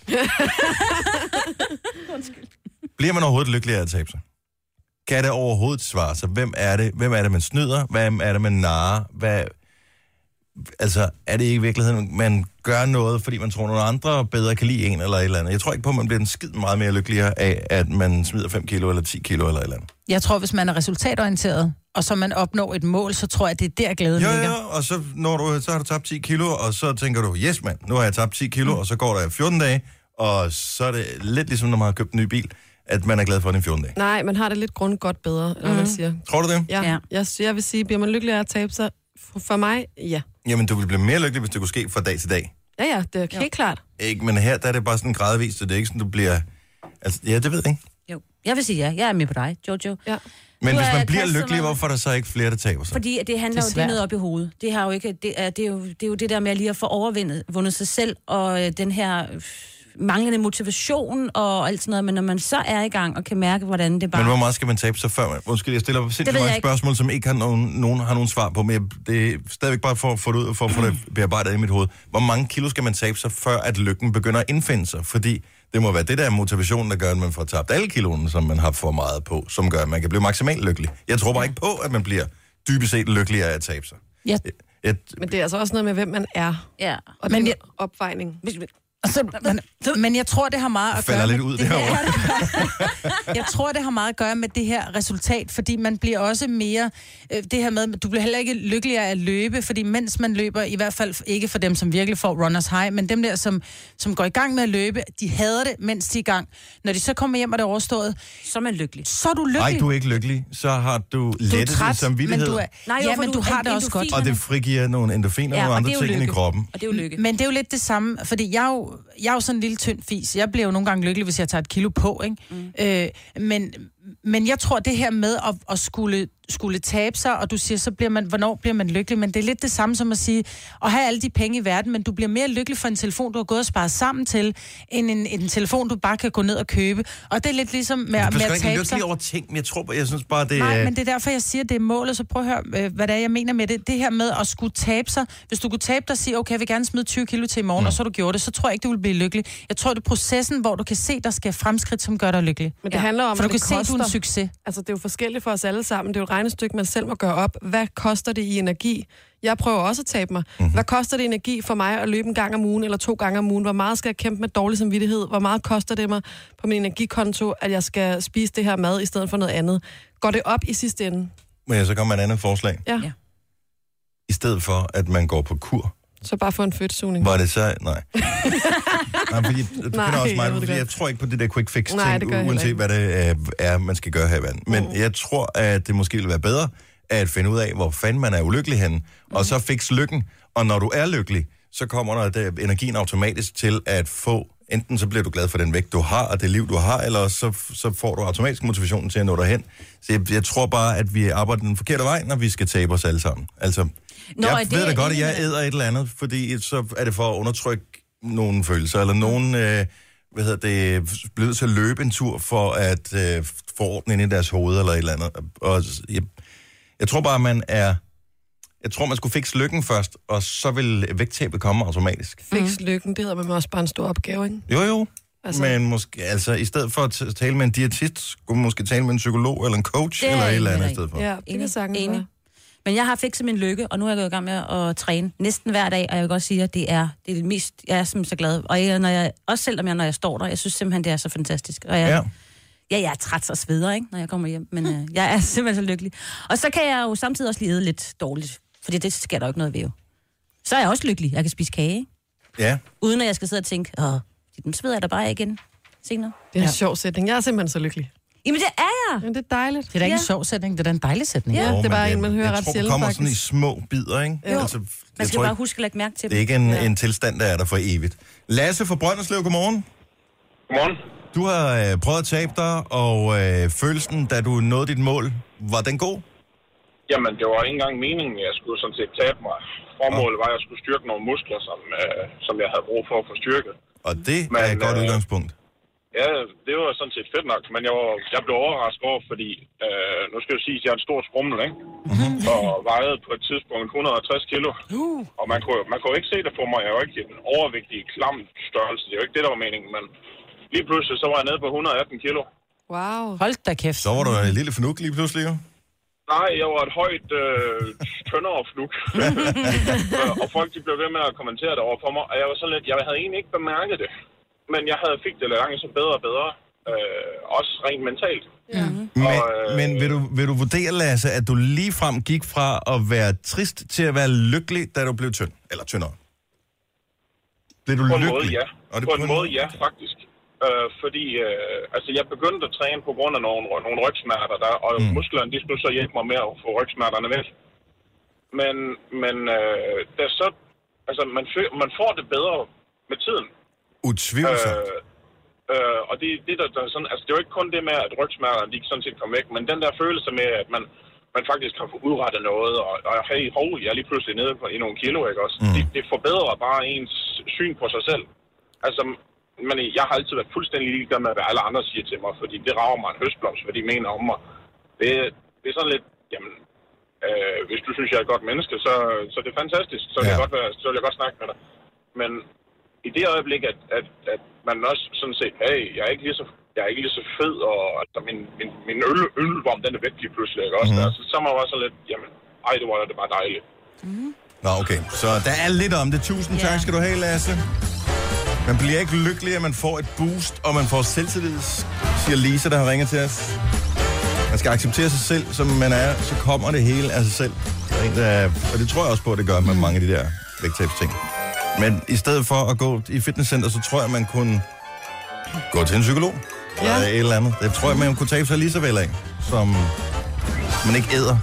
Speaker 2: Bliver man overhovedet lykkelig af at tabe sig? Kan det overhovedet svare sig? Hvem er det, hvem er det man snyder? Hvem er det, man narrer? Hvad... Altså, er det ikke i virkeligheden, man gør noget, fordi man tror, nogle andre bedre kan lide en eller et eller andet? Jeg tror ikke på, at man bliver en skid meget mere lykkeligere af, at man smider 5 kilo eller 10 kilo eller et eller andet.
Speaker 5: Jeg tror, hvis man er resultatorienteret, og så man opnår et mål, så tror jeg, det er der glæden
Speaker 2: Jo,
Speaker 5: ligger.
Speaker 2: jo, og så, når du, så har du tabt 10 kilo, og så tænker du, yes mand, nu har jeg tabt 10 kilo, og så går der 14 dage, og så er det lidt ligesom, når man har købt en ny bil, at man er glad for den i 14 dage.
Speaker 3: Nej, man har det lidt grund godt bedre, eller
Speaker 5: Mhm.
Speaker 3: hvad man siger.
Speaker 2: Tror du det?
Speaker 3: Ja,
Speaker 4: Ja.
Speaker 3: ja. Jeg, jeg vil sige, bliver man lykkelig af at tabe sig? For, for mig, ja.
Speaker 2: Jamen, du ville blive mere lykkelig, hvis det kunne ske fra dag til dag.
Speaker 3: Ja, ja, det er helt klart.
Speaker 2: Ikke? Men her der er det bare sådan gradvist, så det er ikke sådan, du bliver... Altså, ja, det ved jeg ikke.
Speaker 4: Jo. Jeg vil sige ja. Jeg er med på dig, Jojo.
Speaker 3: Ja.
Speaker 2: Men
Speaker 4: Du
Speaker 2: hvis
Speaker 4: er
Speaker 2: man bliver
Speaker 4: kastet
Speaker 2: lykkelig,
Speaker 4: med-
Speaker 2: hvorfor er der så ikke flere, der taber sig?
Speaker 4: Fordi at det handler
Speaker 5: Det er
Speaker 4: det jo det er
Speaker 5: svært.
Speaker 4: noget op i hovedet. Det, har jo ikke, det, er, det, er jo, det er jo det der med at lige at få overvundet vundet sig selv, og øh, den her øh, manglende motivation og alt sådan noget. Men når man så er i gang og kan mærke, hvordan det bare...
Speaker 2: Men hvor meget skal man tabe sig før man... Undskyld, jeg stiller
Speaker 4: Det
Speaker 2: sindssygt
Speaker 4: ved jeg
Speaker 2: mange
Speaker 4: ikke.
Speaker 2: spørgsmål, som ikke har nogen, nogen, har nogen svar på, men jeg, det er stadigvæk bare for at få det ud, for at få det bearbejdet i mit hoved. Hvor mange kilo skal man tabe sig, før at lykken begynder at indfinde sig? Fordi det må være det, der er motivationen, der gør, at man får tabt alle kiloene, som man har for meget på, som gør, at man kan blive maksimalt lykkelig. Jeg tror bare ikke på, at man bliver dybest set lykkelig af at tabe sig.
Speaker 5: Ja.
Speaker 2: Jeg,
Speaker 3: Men det er altså også noget med, hvem man er.
Speaker 4: Ja.
Speaker 3: Og
Speaker 5: Men
Speaker 3: men, den
Speaker 5: jeg-
Speaker 3: opvejning.
Speaker 5: Så, men, men jeg tror, det har meget at
Speaker 2: Falder
Speaker 5: gøre
Speaker 2: lidt
Speaker 5: med
Speaker 2: ud
Speaker 5: det her-
Speaker 2: derovre.
Speaker 5: Ja, det gør. Jeg tror, det har meget at gøre med det her resultat, fordi man bliver også mere... Øh, det her med, du bliver heller ikke lykkeligere af at løbe, fordi mens man løber, i hvert fald ikke for dem, som virkelig får runners high, men dem der, som, som går i gang med at løbe, de hader det, mens de er i gang. Når de så kommer hjem, og det er overstået,
Speaker 4: Så er man lykkelig.
Speaker 5: så er du lykkelig.
Speaker 2: nej, du er ikke lykkelig, så har du
Speaker 5: du er
Speaker 2: lettet
Speaker 5: træt,
Speaker 2: som
Speaker 5: men
Speaker 2: vildhed,
Speaker 5: du er,
Speaker 4: Nej,
Speaker 5: nej,
Speaker 4: jo,
Speaker 5: ja,
Speaker 4: for
Speaker 5: men
Speaker 4: du-
Speaker 5: du har det
Speaker 4: en-
Speaker 5: også godt.
Speaker 4: endorfin-
Speaker 2: og det frigiver nogle endorfiner og nogle andre ting ind i kroppen.
Speaker 4: Og det er jo lykke.
Speaker 5: Men det er jo lidt det samme, fordi jeg er jo, jeg er jo sådan en lille tynd fis. Jeg bliver jo nogle gange lykkelig, hvis jeg tager et kilo på, ikke? Mm. Øh, men, men jeg tror, det her med at, at skulle, skulle tabe sig, og du siger, så bliver man, hvornår bliver man lykkelig? Men det er lidt det samme som at sige, at have alle de penge i verden, men du bliver mere lykkelig for en telefon, du har gået og sparet sammen til, end en, en telefon, du bare kan gå ned og købe. Og det er lidt ligesom med,
Speaker 2: Jeg
Speaker 5: med
Speaker 2: bliver
Speaker 5: at
Speaker 2: ikke
Speaker 5: tabe sig.
Speaker 2: lykkelig over ting, men jeg tror, jeg synes bare, det
Speaker 5: Nej,
Speaker 2: er...
Speaker 5: men det er derfor, jeg siger, at det er målet, så prøv at høre, øh, hvad det er, jeg mener med det. Det her med at skulle tabe sig. Hvis du kunne tabe dig og sige, okay, jeg vil gerne smide 20 kilo til i morgen, mm. og så har du gjorde det, så tror jeg ikke, du vil blive lykkelig. Jeg tror, det er processen, hvor du kan se, der sker fremskridt, som gør dig lykkelig.
Speaker 3: Men det handler om,
Speaker 5: For du
Speaker 3: at
Speaker 5: kan
Speaker 3: det
Speaker 5: se,
Speaker 3: koster.
Speaker 5: at du er en succes.
Speaker 3: Altså, det er jo forskelligt for os alle sammen. Det er jo et regnestykke, man selv må gøre op. Hvad koster det i energi? Jeg prøver også at tabe mig. Mm-hmm. Hvad koster det energi for mig at løbe en gang om ugen eller to gange om ugen? Hvor meget skal jeg kæmpe med dårlig samvittighed? Hvor meget koster det mig på min energikonto, at jeg skal spise det her mad i stedet for noget andet? Går det op i sidste ende?
Speaker 2: Må jeg så komme med et andet forslag?
Speaker 3: Ja.
Speaker 4: Ja.
Speaker 3: ja.
Speaker 2: I stedet for, at man går på kur,
Speaker 3: Så bare få en fødtsugning.
Speaker 2: var det så... Nej. Nej, fordi, du
Speaker 3: Nej,
Speaker 2: kender også
Speaker 3: jeg ved
Speaker 2: mig,
Speaker 3: det
Speaker 2: fordi
Speaker 3: godt.
Speaker 2: jeg tror ikke på det der quick fix ting,
Speaker 3: Nej, det gør jeg
Speaker 2: uanset hvad
Speaker 3: heller
Speaker 2: det øh, er, man skal gøre her i verden. Men mm. jeg tror, at det måske ville være bedre at finde ud af, hvor fanden man er ulykkelig henne, mm. og så fikse lykken. Og når du er lykkelig, så kommer der det, energien automatisk til at få, enten så bliver du glad for den vægt, du har, og det liv, du har, eller også så, så får du automatisk motivationen til at nå derhen. Så jeg, jeg tror bare, at vi arbejder den forkerte vej, når vi skal tabe os alle sammen. Altså, Nå,
Speaker 4: er
Speaker 2: jeg
Speaker 4: det
Speaker 2: ved da godt, at
Speaker 4: en-
Speaker 2: jeg æder et eller andet, fordi så er det for at undertrykke nogle følelser, eller nogen, øh, hvad hedder det, bliver nødt til at løbe en tur for at øh, få orden ind i deres hoved, eller et eller andet. Og jeg, jeg tror bare, man er... Jeg tror, man skulle fikse lykken først, og så vil vægttabet komme automatisk.
Speaker 4: Mhm.
Speaker 3: Fix
Speaker 5: Mhm.
Speaker 3: lykken, det hedder man også bare en stor opgave, ikke?
Speaker 2: Jo, jo. Altså,
Speaker 3: Altså-
Speaker 2: men måske, altså, i stedet for at t- tale med en diætist, skulle man måske tale med en psykolog eller en coach
Speaker 4: Det er
Speaker 2: eller et
Speaker 4: jeg
Speaker 2: eller
Speaker 4: enig
Speaker 2: andet
Speaker 4: med
Speaker 2: i stedet for.
Speaker 3: Ja, det
Speaker 4: Enig.
Speaker 3: kan sagtens
Speaker 4: Enig.
Speaker 3: være.
Speaker 4: Men jeg har fikset min lykke, og nu er jeg gået i gang med at træne næsten hver dag, og jeg vil godt sige, at det er det, er det mest, jeg er simpelthen så glad. Og jeg, når jeg, også selvom jeg, når jeg står der, jeg synes simpelthen, det er så fantastisk. Og jeg,
Speaker 2: Ja.
Speaker 4: ja. ja, jeg er træt og sveder, ikke, når jeg kommer hjem, men øh, jeg er simpelthen så lykkelig. Og så kan jeg jo samtidig også lige æde lidt dårligt, fordi det sker der jo ikke noget ved jo. Så er jeg også lykkelig, jeg kan spise kage, ikke?
Speaker 2: ja.
Speaker 4: uden at jeg skal sidde og tænke, åh, den sveder jeg da bare af igen senere.
Speaker 3: Det er en sjov sætning. Jeg er simpelthen så lykkelig.
Speaker 4: Jamen det er jeg!
Speaker 3: Men det er dejligt.
Speaker 5: Det er da ikke
Speaker 4: Ja.
Speaker 5: en sjov sætning, det er da en dejlig sætning.
Speaker 3: Ja,
Speaker 2: Jo,
Speaker 3: det er
Speaker 2: men
Speaker 3: bare
Speaker 2: jeg-
Speaker 3: en, man hører
Speaker 2: jeg
Speaker 3: ret
Speaker 2: tror,
Speaker 3: sjældent,
Speaker 2: det kommer sådan i
Speaker 3: faktisk.
Speaker 2: små bidder, ikke? Jo. Altså,
Speaker 4: Man
Speaker 2: jeg
Speaker 4: skal
Speaker 2: tror
Speaker 4: bare
Speaker 2: ikke,
Speaker 4: huske at lægge mærke til
Speaker 2: det er ikke
Speaker 4: dem.
Speaker 2: en, ja. en tilstand, der er der for evigt. Lasse fra Brønderslev, godmorgen.
Speaker 8: Godmorgen.
Speaker 2: Du har øh, prøvet at tabe dig, og øh, følelsen, da du nåede dit mål, var den god?
Speaker 8: Jamen, det var ikke engang meningen, jeg skulle sådan set tabe mig. Formålet var, at jeg skulle styrke nogle muskler, som, øh, som jeg havde brug for at få styrket.
Speaker 2: Og det
Speaker 8: Men,
Speaker 2: er et godt
Speaker 8: øh,
Speaker 2: udgangspunkt.
Speaker 8: Ja, det var sådan set fedt nok, men jeg, var, jeg blev overrasket over, fordi øh, nu skal jeg jo sige, at jeg er en stor skrummel, ikke? Og vejede på et tidspunkt 160 kilo. Og man kunne, man kunne ikke se det på mig. Jeg var ikke en overvægtig, klam størrelse. Det var ikke det, der var meningen, men lige pludselig så var jeg nede på 118 kilo.
Speaker 3: Wow.
Speaker 5: Hold da kæft.
Speaker 2: Så var du en lille fnuk lige pludselig, jo.
Speaker 8: Nej, jeg var et højt øh, tyndere fluk. og folk de blev ved med at kommentere det over på mig, og jeg var sådan lidt, jeg havde egentlig ikke bemærket det. Men jeg havde fik det langsomt bedre og bedre, øh, også rent mentalt.
Speaker 2: Men,
Speaker 8: Og, øh,
Speaker 2: men vil, du, vil du vurdere, Lasse, at du ligefrem gik fra at være trist til at være lykkelig, da du blev tynd? Eller tyndere? Blev du
Speaker 8: På en
Speaker 2: lykkelig?
Speaker 8: måde, ja.
Speaker 2: Og det
Speaker 8: På en måde, ja, faktisk. Øh, fordi øh, altså, jeg begyndte at træne på grund af nogle, nogle rygsmerter, der, og mm. musklerne de skulle så hjælpe mig med at få rygsmerterne væk. Men, men øh, der så, altså, man, fø- man får det bedre med tiden.
Speaker 2: Utvivlsomt.
Speaker 8: Øh, øh, og det, det der, der er sådan, altså, det er jo ikke kun det med, at rygsmerterne de sådan set kom væk, men den der følelse med, at man, man faktisk har fået udrettet noget, og, og hey, hov, jeg er lige pludselig nede på, i nogle kilo, ikke også? Mm. Det, det forbedrer bare ens syn på sig selv. Altså, men jeg har altid været fuldstændig ligeglad med, hvad alle andre siger til mig, fordi det rager mig en høstblomst, hvad de mener om mig. Det, det er sådan lidt, jamen, øh, hvis du synes, jeg er et godt menneske, så, så det er fantastisk. Så, vil
Speaker 2: Ja.
Speaker 8: jeg godt være, så vil jeg godt snakke med dig. Men i det øjeblik, at, at, at man også sådan set, hey, jeg er ikke lige så, jeg er ikke lige så fed, og altså, min, min, min øl, ølvom, den er væk lige pludselig, ikke også? Mm.
Speaker 2: Mhm.
Speaker 8: Altså, så er man også sådan lidt, jamen, ej, det var da det var dejligt.
Speaker 2: Nå, okay. Så der er lidt om det. Tusind
Speaker 4: Ja.
Speaker 2: tak skal du have, Lasse. Man bliver ikke lykkelig, at man får et boost, og man får selvtillid, siger Lisa, der har ringet til os. Man skal acceptere sig selv, som man er, så kommer det hele af sig selv. Der er en, der- Og det tror jeg også på, at det gør med mange af de der vægttabsting. Men i stedet for at gå i fitnesscenter, så tror jeg, man kunne gå til en psykolog. Ja. Eller et eller andet. Det tror jeg, man kunne tabe sig lige så vel af, som man ikke æder,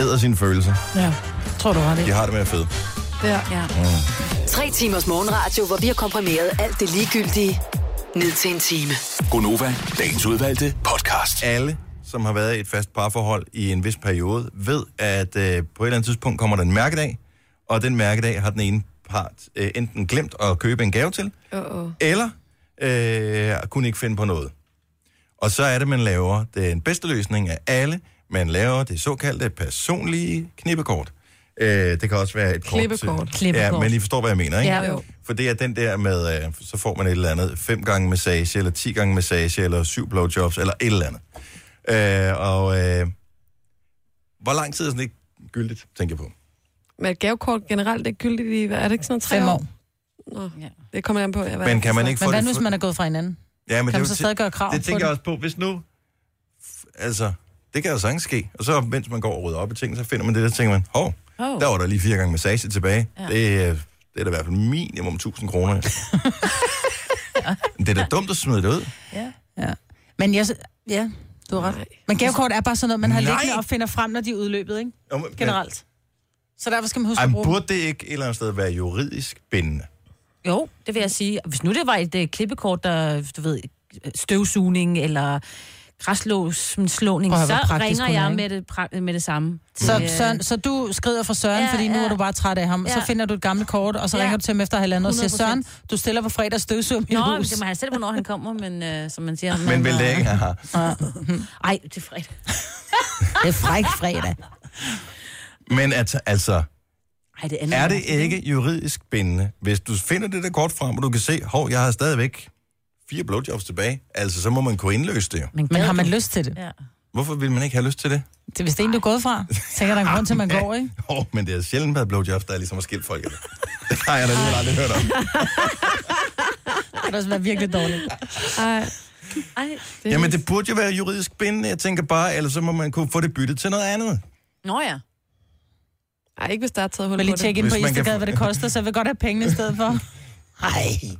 Speaker 2: æder sine følelser.
Speaker 5: Ja. Tror du har det?
Speaker 2: De har det med at fede.
Speaker 3: Ja.
Speaker 4: Ja.
Speaker 5: Mm.
Speaker 6: Tre timers morgenradio, hvor vi har komprimeret alt det ligegyldige ned til en time.
Speaker 7: Gonova, dagens udvalgte podcast.
Speaker 2: alle, som har været i et fast parforhold i en vis periode, ved, at øh, på et eller andet tidspunkt kommer der en mærkedag, og den mærkedag har den ene part øh, enten glemt at købe en gave til,
Speaker 3: Uh-oh.
Speaker 2: eller øh, kunne ikke finde på noget. Og så er det, man laver den bedste løsning af alle. Man laver det såkaldte personlige knippekort. Øh, det kan også være et kort. til-
Speaker 3: Klippekort.
Speaker 2: Ja,
Speaker 5: Klippekort.
Speaker 2: men I forstår, hvad jeg mener, ikke?
Speaker 4: Ja,
Speaker 3: jo.
Speaker 2: For det er den der med, øh, så får man et eller andet fem gange massage, eller ti gange massage, eller syv blowjobs, eller et eller andet. Øh, og øh, hvor lang tid er sådan ikke gyldigt, tænker jeg på.
Speaker 3: Men et gavekort generelt er gyldigt i, hvad er det ikke sådan noget, tre
Speaker 5: Fem
Speaker 3: år?
Speaker 5: år.
Speaker 3: Nå,
Speaker 4: Ja.
Speaker 3: det kommer an på. Ja, hvad
Speaker 2: Men
Speaker 3: det
Speaker 2: kan
Speaker 3: er.
Speaker 2: man ikke
Speaker 5: Men
Speaker 2: få
Speaker 5: hvad
Speaker 2: det...
Speaker 5: nu, hvis man er gået fra hinanden?
Speaker 2: ja, men
Speaker 5: Kan man
Speaker 2: jo
Speaker 5: så
Speaker 2: ti-
Speaker 5: stadig gøre krav
Speaker 2: Det
Speaker 5: på
Speaker 2: tænker
Speaker 5: det?
Speaker 2: jeg også på. Hvis nu... f- Altså, det kan jo sagtens ske. Og så, mens man går og rydder op i tingene, så finder man det, der så tænker man, hov, oh.
Speaker 4: Hov.
Speaker 2: der var der lige fire gange massage tilbage. Ja.
Speaker 4: Ja.
Speaker 2: Det, er- det er da i hvert fald minimum 1000 kroner. det er da dumt at smide det ud.
Speaker 5: Ja. Men jeg... sy- Ja, du har ret. Men gavekort er bare sådan noget, man har
Speaker 2: Nej.
Speaker 5: liggende og finder frem, når de er udløbet, ikke?
Speaker 2: Jo, men-
Speaker 5: Generelt. Så derfor skal man huske
Speaker 2: Ej,
Speaker 5: at
Speaker 2: men
Speaker 5: bruge dem.
Speaker 2: burde det ikke et eller andet sted være juridisk bindende?
Speaker 4: Jo, det vil jeg sige. Hvis nu det var et øh, klippekort, der, du ved, støvsugning eller græslåsslåning,
Speaker 5: Prøv at høre,
Speaker 4: så
Speaker 5: hvor praktisk
Speaker 4: ringer
Speaker 5: hun er,
Speaker 4: jeg
Speaker 5: ikke?
Speaker 4: med det, pra- med det samme.
Speaker 5: Så,
Speaker 4: til, øh,
Speaker 5: Søren, så du skrider for Søren, ja,
Speaker 4: Ja,
Speaker 5: fordi nu
Speaker 4: ja.
Speaker 5: er du bare træt af ham. Ja. Så
Speaker 4: Ja.
Speaker 5: finder du et gammelt kort, og så ja.
Speaker 4: Ja.
Speaker 5: ringer du til ham efter halvandet og siger,
Speaker 4: 100%.
Speaker 5: Søren, du stiller på fredag støvsuger mit
Speaker 4: Nå, men
Speaker 5: hus.
Speaker 4: det må han selv, hvornår han kommer, men øh, som man siger...
Speaker 2: Men
Speaker 4: man,
Speaker 2: vil det
Speaker 4: øh,
Speaker 2: ikke? Aha.
Speaker 4: Ej, det er fredag.
Speaker 5: Det er fræk fredag.
Speaker 2: Men at, altså,
Speaker 4: Ej, det andet
Speaker 2: er det
Speaker 4: mærkeligt,
Speaker 2: ikke juridisk bindende, hvis du finder det der kort frem, og du kan se, hov, jeg har stadigvæk fire blowjobs tilbage, altså så må man kunne indløse det jo.
Speaker 5: Men har
Speaker 4: gad
Speaker 5: man
Speaker 4: du?
Speaker 5: lyst til det?
Speaker 4: Ja.
Speaker 2: Hvorfor vil man ikke have lyst til det?
Speaker 5: det er, hvis det er en, du er gået fra, så kan der en grund til, at man går, ikke?
Speaker 2: Åh, oh, men det er sjældent været blowjobs, der er ligesom har skilt folk. af Det Det har jeg da alligevel aldrig hørt om.
Speaker 5: Det kan også være virkelig dårligt.
Speaker 3: Ej,
Speaker 4: Ej.
Speaker 2: Jamen, det burde jo være juridisk bindende, jeg tænker bare, eller så må man kunne få det byttet til noget andet.
Speaker 4: Nå ja.
Speaker 3: ej, ikke hvis der er taget hul
Speaker 5: Jeg vil lige
Speaker 3: på
Speaker 5: tjekke ind
Speaker 2: Hvis
Speaker 5: på
Speaker 2: man kan
Speaker 5: Instagram,
Speaker 2: få-
Speaker 5: hvad det koster, så jeg vil godt have pengene i stedet for.
Speaker 2: Ej.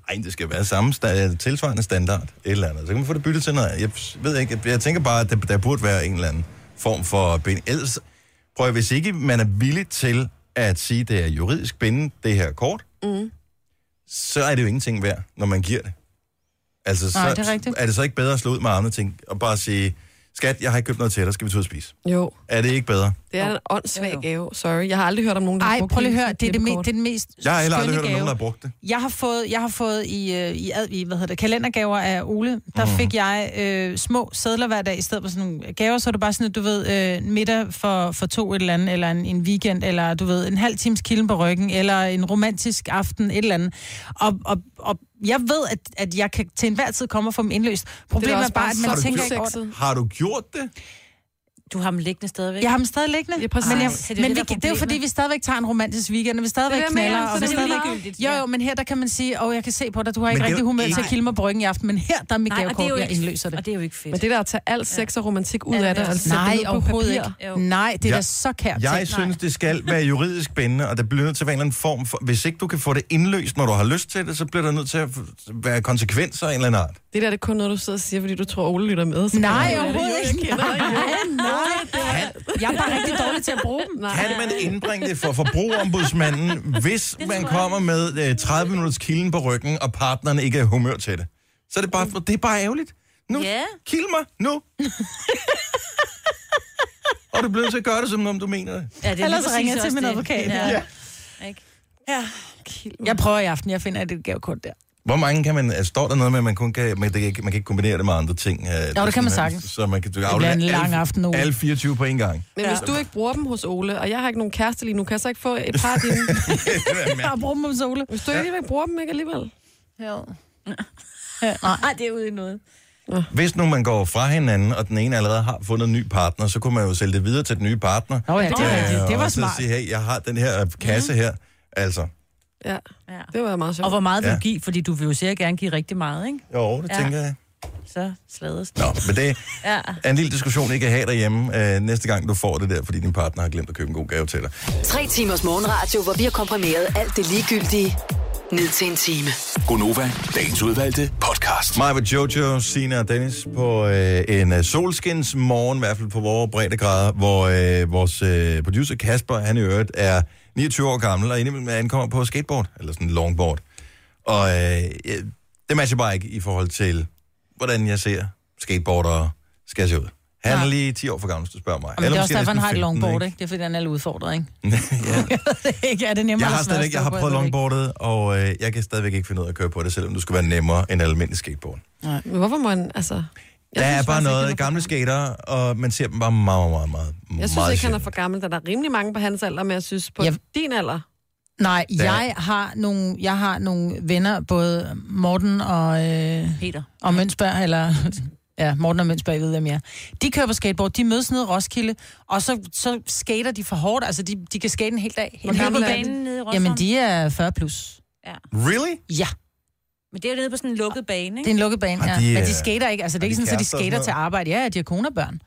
Speaker 2: Ej, det skal være samme sta- tilsvarende standard. Et eller andet. Så kan man få det byttet til noget andet. Jeg ved ikke. Jeg, jeg tænker bare, at der, der burde være en eller anden form for bind. Ellers, prøv at, hvis ikke man er villig til at sige, at det er juridisk bindende, det her kort, mm. så er det jo ingenting værd, når man giver det. Altså, så,
Speaker 5: Nej, det er rigtigt.
Speaker 2: Er det så ikke bedre at slå ud med armene og, tænke, og bare sige, skat, jeg har ikke købt noget til dig, skal vi tage ud og spise?
Speaker 3: Jo,
Speaker 2: Er det ikke bedre?
Speaker 3: det er en åndssvag gave. Sorry, jeg har aldrig hørt om nogen, der har
Speaker 5: Ej,
Speaker 3: brugt
Speaker 5: prøv lige at
Speaker 3: hele
Speaker 5: høre,
Speaker 3: sit
Speaker 5: det er, det, me- det er
Speaker 3: klippekort.
Speaker 5: den mest
Speaker 2: Jeg har heller aldrig
Speaker 5: skønne
Speaker 2: hørt om
Speaker 5: gave.
Speaker 2: nogen, der har brugt det.
Speaker 5: Jeg har fået, jeg har fået i, øh, i, ad, i hvad hedder det, kalendergaver af Ole, der mm. fik jeg øh, små sædler hver dag, i stedet for sådan nogle gaver, så er det bare sådan, at du ved, øh, en middag for, for to et eller andet, eller en, en weekend, eller du ved, en halv times kilden på ryggen, eller en romantisk aften, et eller andet. Og, og, og jeg ved, at, at jeg kan til enhver tid komme og få dem indløst. Problemet er,
Speaker 3: også
Speaker 5: er bare,
Speaker 3: bare
Speaker 5: at
Speaker 3: så
Speaker 5: man tænker ikke over det.
Speaker 3: usekset.
Speaker 2: Har du gjort det?
Speaker 4: Du har dem liggende stadigvæk.
Speaker 5: Jeg har dem stadig liggende.
Speaker 3: Ja, præcis.
Speaker 5: Men, jeg,
Speaker 3: Ej, så
Speaker 4: det er
Speaker 5: men
Speaker 4: det,
Speaker 5: vi,
Speaker 4: der er
Speaker 5: det er jo fordi, vi stadigvæk tager en romantisk weekend, og vi stadigvæk
Speaker 3: Det er det, jeg
Speaker 5: knaller.
Speaker 3: mener, så
Speaker 5: og vi
Speaker 3: det er
Speaker 5: stadigvæk...
Speaker 4: ligegyldigt,
Speaker 5: Jo,
Speaker 4: ja.
Speaker 5: jo, men her der kan man sige, åh, jeg kan se på dig, du har ikke
Speaker 2: det er
Speaker 5: rigtig
Speaker 2: jo
Speaker 5: humør til at
Speaker 2: ikke-
Speaker 5: kilde mig bryggen i aften, men her der er mit
Speaker 4: Nej, og det er
Speaker 5: gavekort,
Speaker 4: jo
Speaker 5: jeg
Speaker 4: ikke,
Speaker 5: indløser det.
Speaker 4: Og det er jo ikke fedt.
Speaker 3: Men det der at tage alt sex og romantik ud
Speaker 4: Ja,
Speaker 3: af
Speaker 4: det
Speaker 3: det,
Speaker 4: er
Speaker 3: altså
Speaker 4: det.
Speaker 5: Nej,
Speaker 3: det
Speaker 5: overhovedet
Speaker 3: papir.
Speaker 5: ikke. Nej, det er
Speaker 2: Ja.
Speaker 5: da så kært.
Speaker 2: Jeg
Speaker 5: tænkt.
Speaker 2: synes, det skal være juridisk bindende, og der bliver nødt til at være en eller anden form for... Hvis ikke du kan få det indløst, når du har lyst til det, så bliver der nødt til at være konsekvenser af en eller anden art.
Speaker 3: Det der det er kun noget, du sidder og siger, fordi du tror, Ole lytter med. Så
Speaker 5: Nej,
Speaker 3: Ja, det er
Speaker 5: overhovedet
Speaker 3: jo, jeg
Speaker 5: ikke.
Speaker 3: kender dig.
Speaker 5: Jeg er bare rigtig dårlig til at bruge dem.
Speaker 3: Nej.
Speaker 2: Kan man indbringe det for forbrugerombudsmanden, hvis man kommer med øh, 30 minutters kilden på ryggen, og partneren ikke er i humør til det? Så er det bare, det er bare ærgerligt. Nu,
Speaker 4: Ja.
Speaker 2: kild mig, nu. og du bliver nødt til at gøre det, som om du mener det.
Speaker 4: Ja, det er
Speaker 5: Ellers
Speaker 4: lige præcis
Speaker 5: ringer jeg til
Speaker 4: også
Speaker 5: min
Speaker 4: det.
Speaker 5: advokat.
Speaker 4: Ja.
Speaker 5: Ja.
Speaker 4: Ikke?
Speaker 5: Jeg prøver i aften, jeg finder et gavekort der.
Speaker 2: Hvor mange kan man... Altså, står der noget med, at man, kun kan, man, det, kan- man kan ikke kombinere det med andre ting? Jo, det,
Speaker 5: kan man sagtens.
Speaker 2: Så man kan du kan
Speaker 5: bliver
Speaker 2: aflevere
Speaker 5: en lang
Speaker 2: alle-
Speaker 5: aften, Ole.
Speaker 2: Alle 24 på en gang.
Speaker 3: Men hvis du ikke bruger dem hos Ole, og jeg har ikke nogen kæreste lige nu, kan jeg så ikke få et par af dine?
Speaker 5: Jeg har brugt dem om sole.
Speaker 3: Hvis du ikke vil bruge dem ikke alligevel.
Speaker 5: Ja.
Speaker 4: Nej, det er ude i noget.
Speaker 2: Hvis nu man går fra hinanden, og den ene allerede har fundet en ny partner, så kunne man jo sælge det videre til den nye partner.
Speaker 5: Nå ja, det, er
Speaker 2: Øh,
Speaker 5: rigtigt. det var
Speaker 2: og så
Speaker 5: smart. Mhm.
Speaker 2: Sige, hey, jeg har den her øh, kasse her. Altså,
Speaker 3: Ja,
Speaker 4: Ja.
Speaker 3: det var meget sjovt.
Speaker 4: Og hvor meget vil
Speaker 2: Ja.
Speaker 4: du give? Fordi du vil jo sikkert gerne give rigtig meget, ikke?
Speaker 2: jo, det ja.
Speaker 4: Ja.
Speaker 2: tænker jeg.
Speaker 4: Så slades det.
Speaker 2: Nå, men det
Speaker 4: Ja.
Speaker 2: er en lille diskussion, I kan have derhjemme øh, næste gang, du får det der, fordi din partner har glemt at købe en god gave til dig.
Speaker 6: Tre timers morgenradio, hvor vi har komprimeret alt det ligegyldige ned til en time.
Speaker 7: Gonova, dagens udvalgte podcast.
Speaker 2: Maja, Jojo, Sina og Dennis på øh, en øh, solskins morgen, i hvert fald på vores breddegrader, hvor øh, vores øh, producer Kasper, han i øvrigt er 29 år gammel, og indimellem er han kommer på skateboard, eller sådan en longboard. Og øh, jeg- det matcher bare ikke i forhold til, hvordan jeg ser skateboardere skal se ud. Han er
Speaker 5: Nej.
Speaker 2: lige 10 år for gammel, hvis du spørger mig.
Speaker 5: Men det er også
Speaker 2: måske
Speaker 5: derfor, han har et
Speaker 2: næsten 15,
Speaker 5: longboard, ikke? Det er fordi, han er lidt udfordret, ikke?
Speaker 2: ja.
Speaker 5: ikke? Er det
Speaker 2: Jeg
Speaker 5: nemmere eller
Speaker 2: har
Speaker 5: sværere at
Speaker 2: stadigvæk, jeg
Speaker 5: stå
Speaker 2: har
Speaker 5: på?
Speaker 2: prøvet
Speaker 5: ved det ikke.
Speaker 2: longboardet, og øh, jeg kan stadigvæk ikke finde ud af at køre på det, selvom det skulle være nemmere end almindelig skateboard.
Speaker 3: Men hvorfor må han, altså... Jeg
Speaker 2: Der
Speaker 3: synes
Speaker 2: er bare
Speaker 3: faktisk ikke,
Speaker 2: noget
Speaker 3: han
Speaker 2: i
Speaker 3: er for
Speaker 2: gamle
Speaker 3: gammel.
Speaker 2: skater, og man ser dem bare meget, meget, meget, meget
Speaker 3: Jeg synes ikke, han
Speaker 2: sjældent.
Speaker 3: er for gammel. Der er der rimelig mange på hans alder, men jeg synes på
Speaker 5: Jeg-
Speaker 3: din alder.
Speaker 5: Nej,
Speaker 2: Der-
Speaker 5: jeg har, nogle, jeg har nogle venner, både Morten og, øh,
Speaker 4: Peter.
Speaker 5: og Mønsberg, eller... Ja, Morten og Mønsberg, I ved, hvem jeg er. De kører på skateboard, de mødes nede i Roskilde, og så, så skater de for hårdt. Altså, de, de kan skate en hel dag.
Speaker 4: Hvor
Speaker 5: En hel
Speaker 4: gammel er
Speaker 5: weekend.
Speaker 4: banen nede i Roskilde?
Speaker 5: Jamen, de er 40 plus.
Speaker 4: Ja.
Speaker 2: Really?
Speaker 5: Ja,
Speaker 4: Men det er jo nede på sådan en lukket bane,
Speaker 5: det er
Speaker 4: ikke?
Speaker 5: en lukket bane,
Speaker 2: Og
Speaker 5: ja.
Speaker 2: de er-
Speaker 5: Men de skater ikke, altså det er
Speaker 2: og
Speaker 5: ikke
Speaker 2: de
Speaker 5: sådan, at de
Speaker 2: kærester og sådan
Speaker 5: skater til
Speaker 2: noget?
Speaker 5: arbejde. Ja, de har konebørn.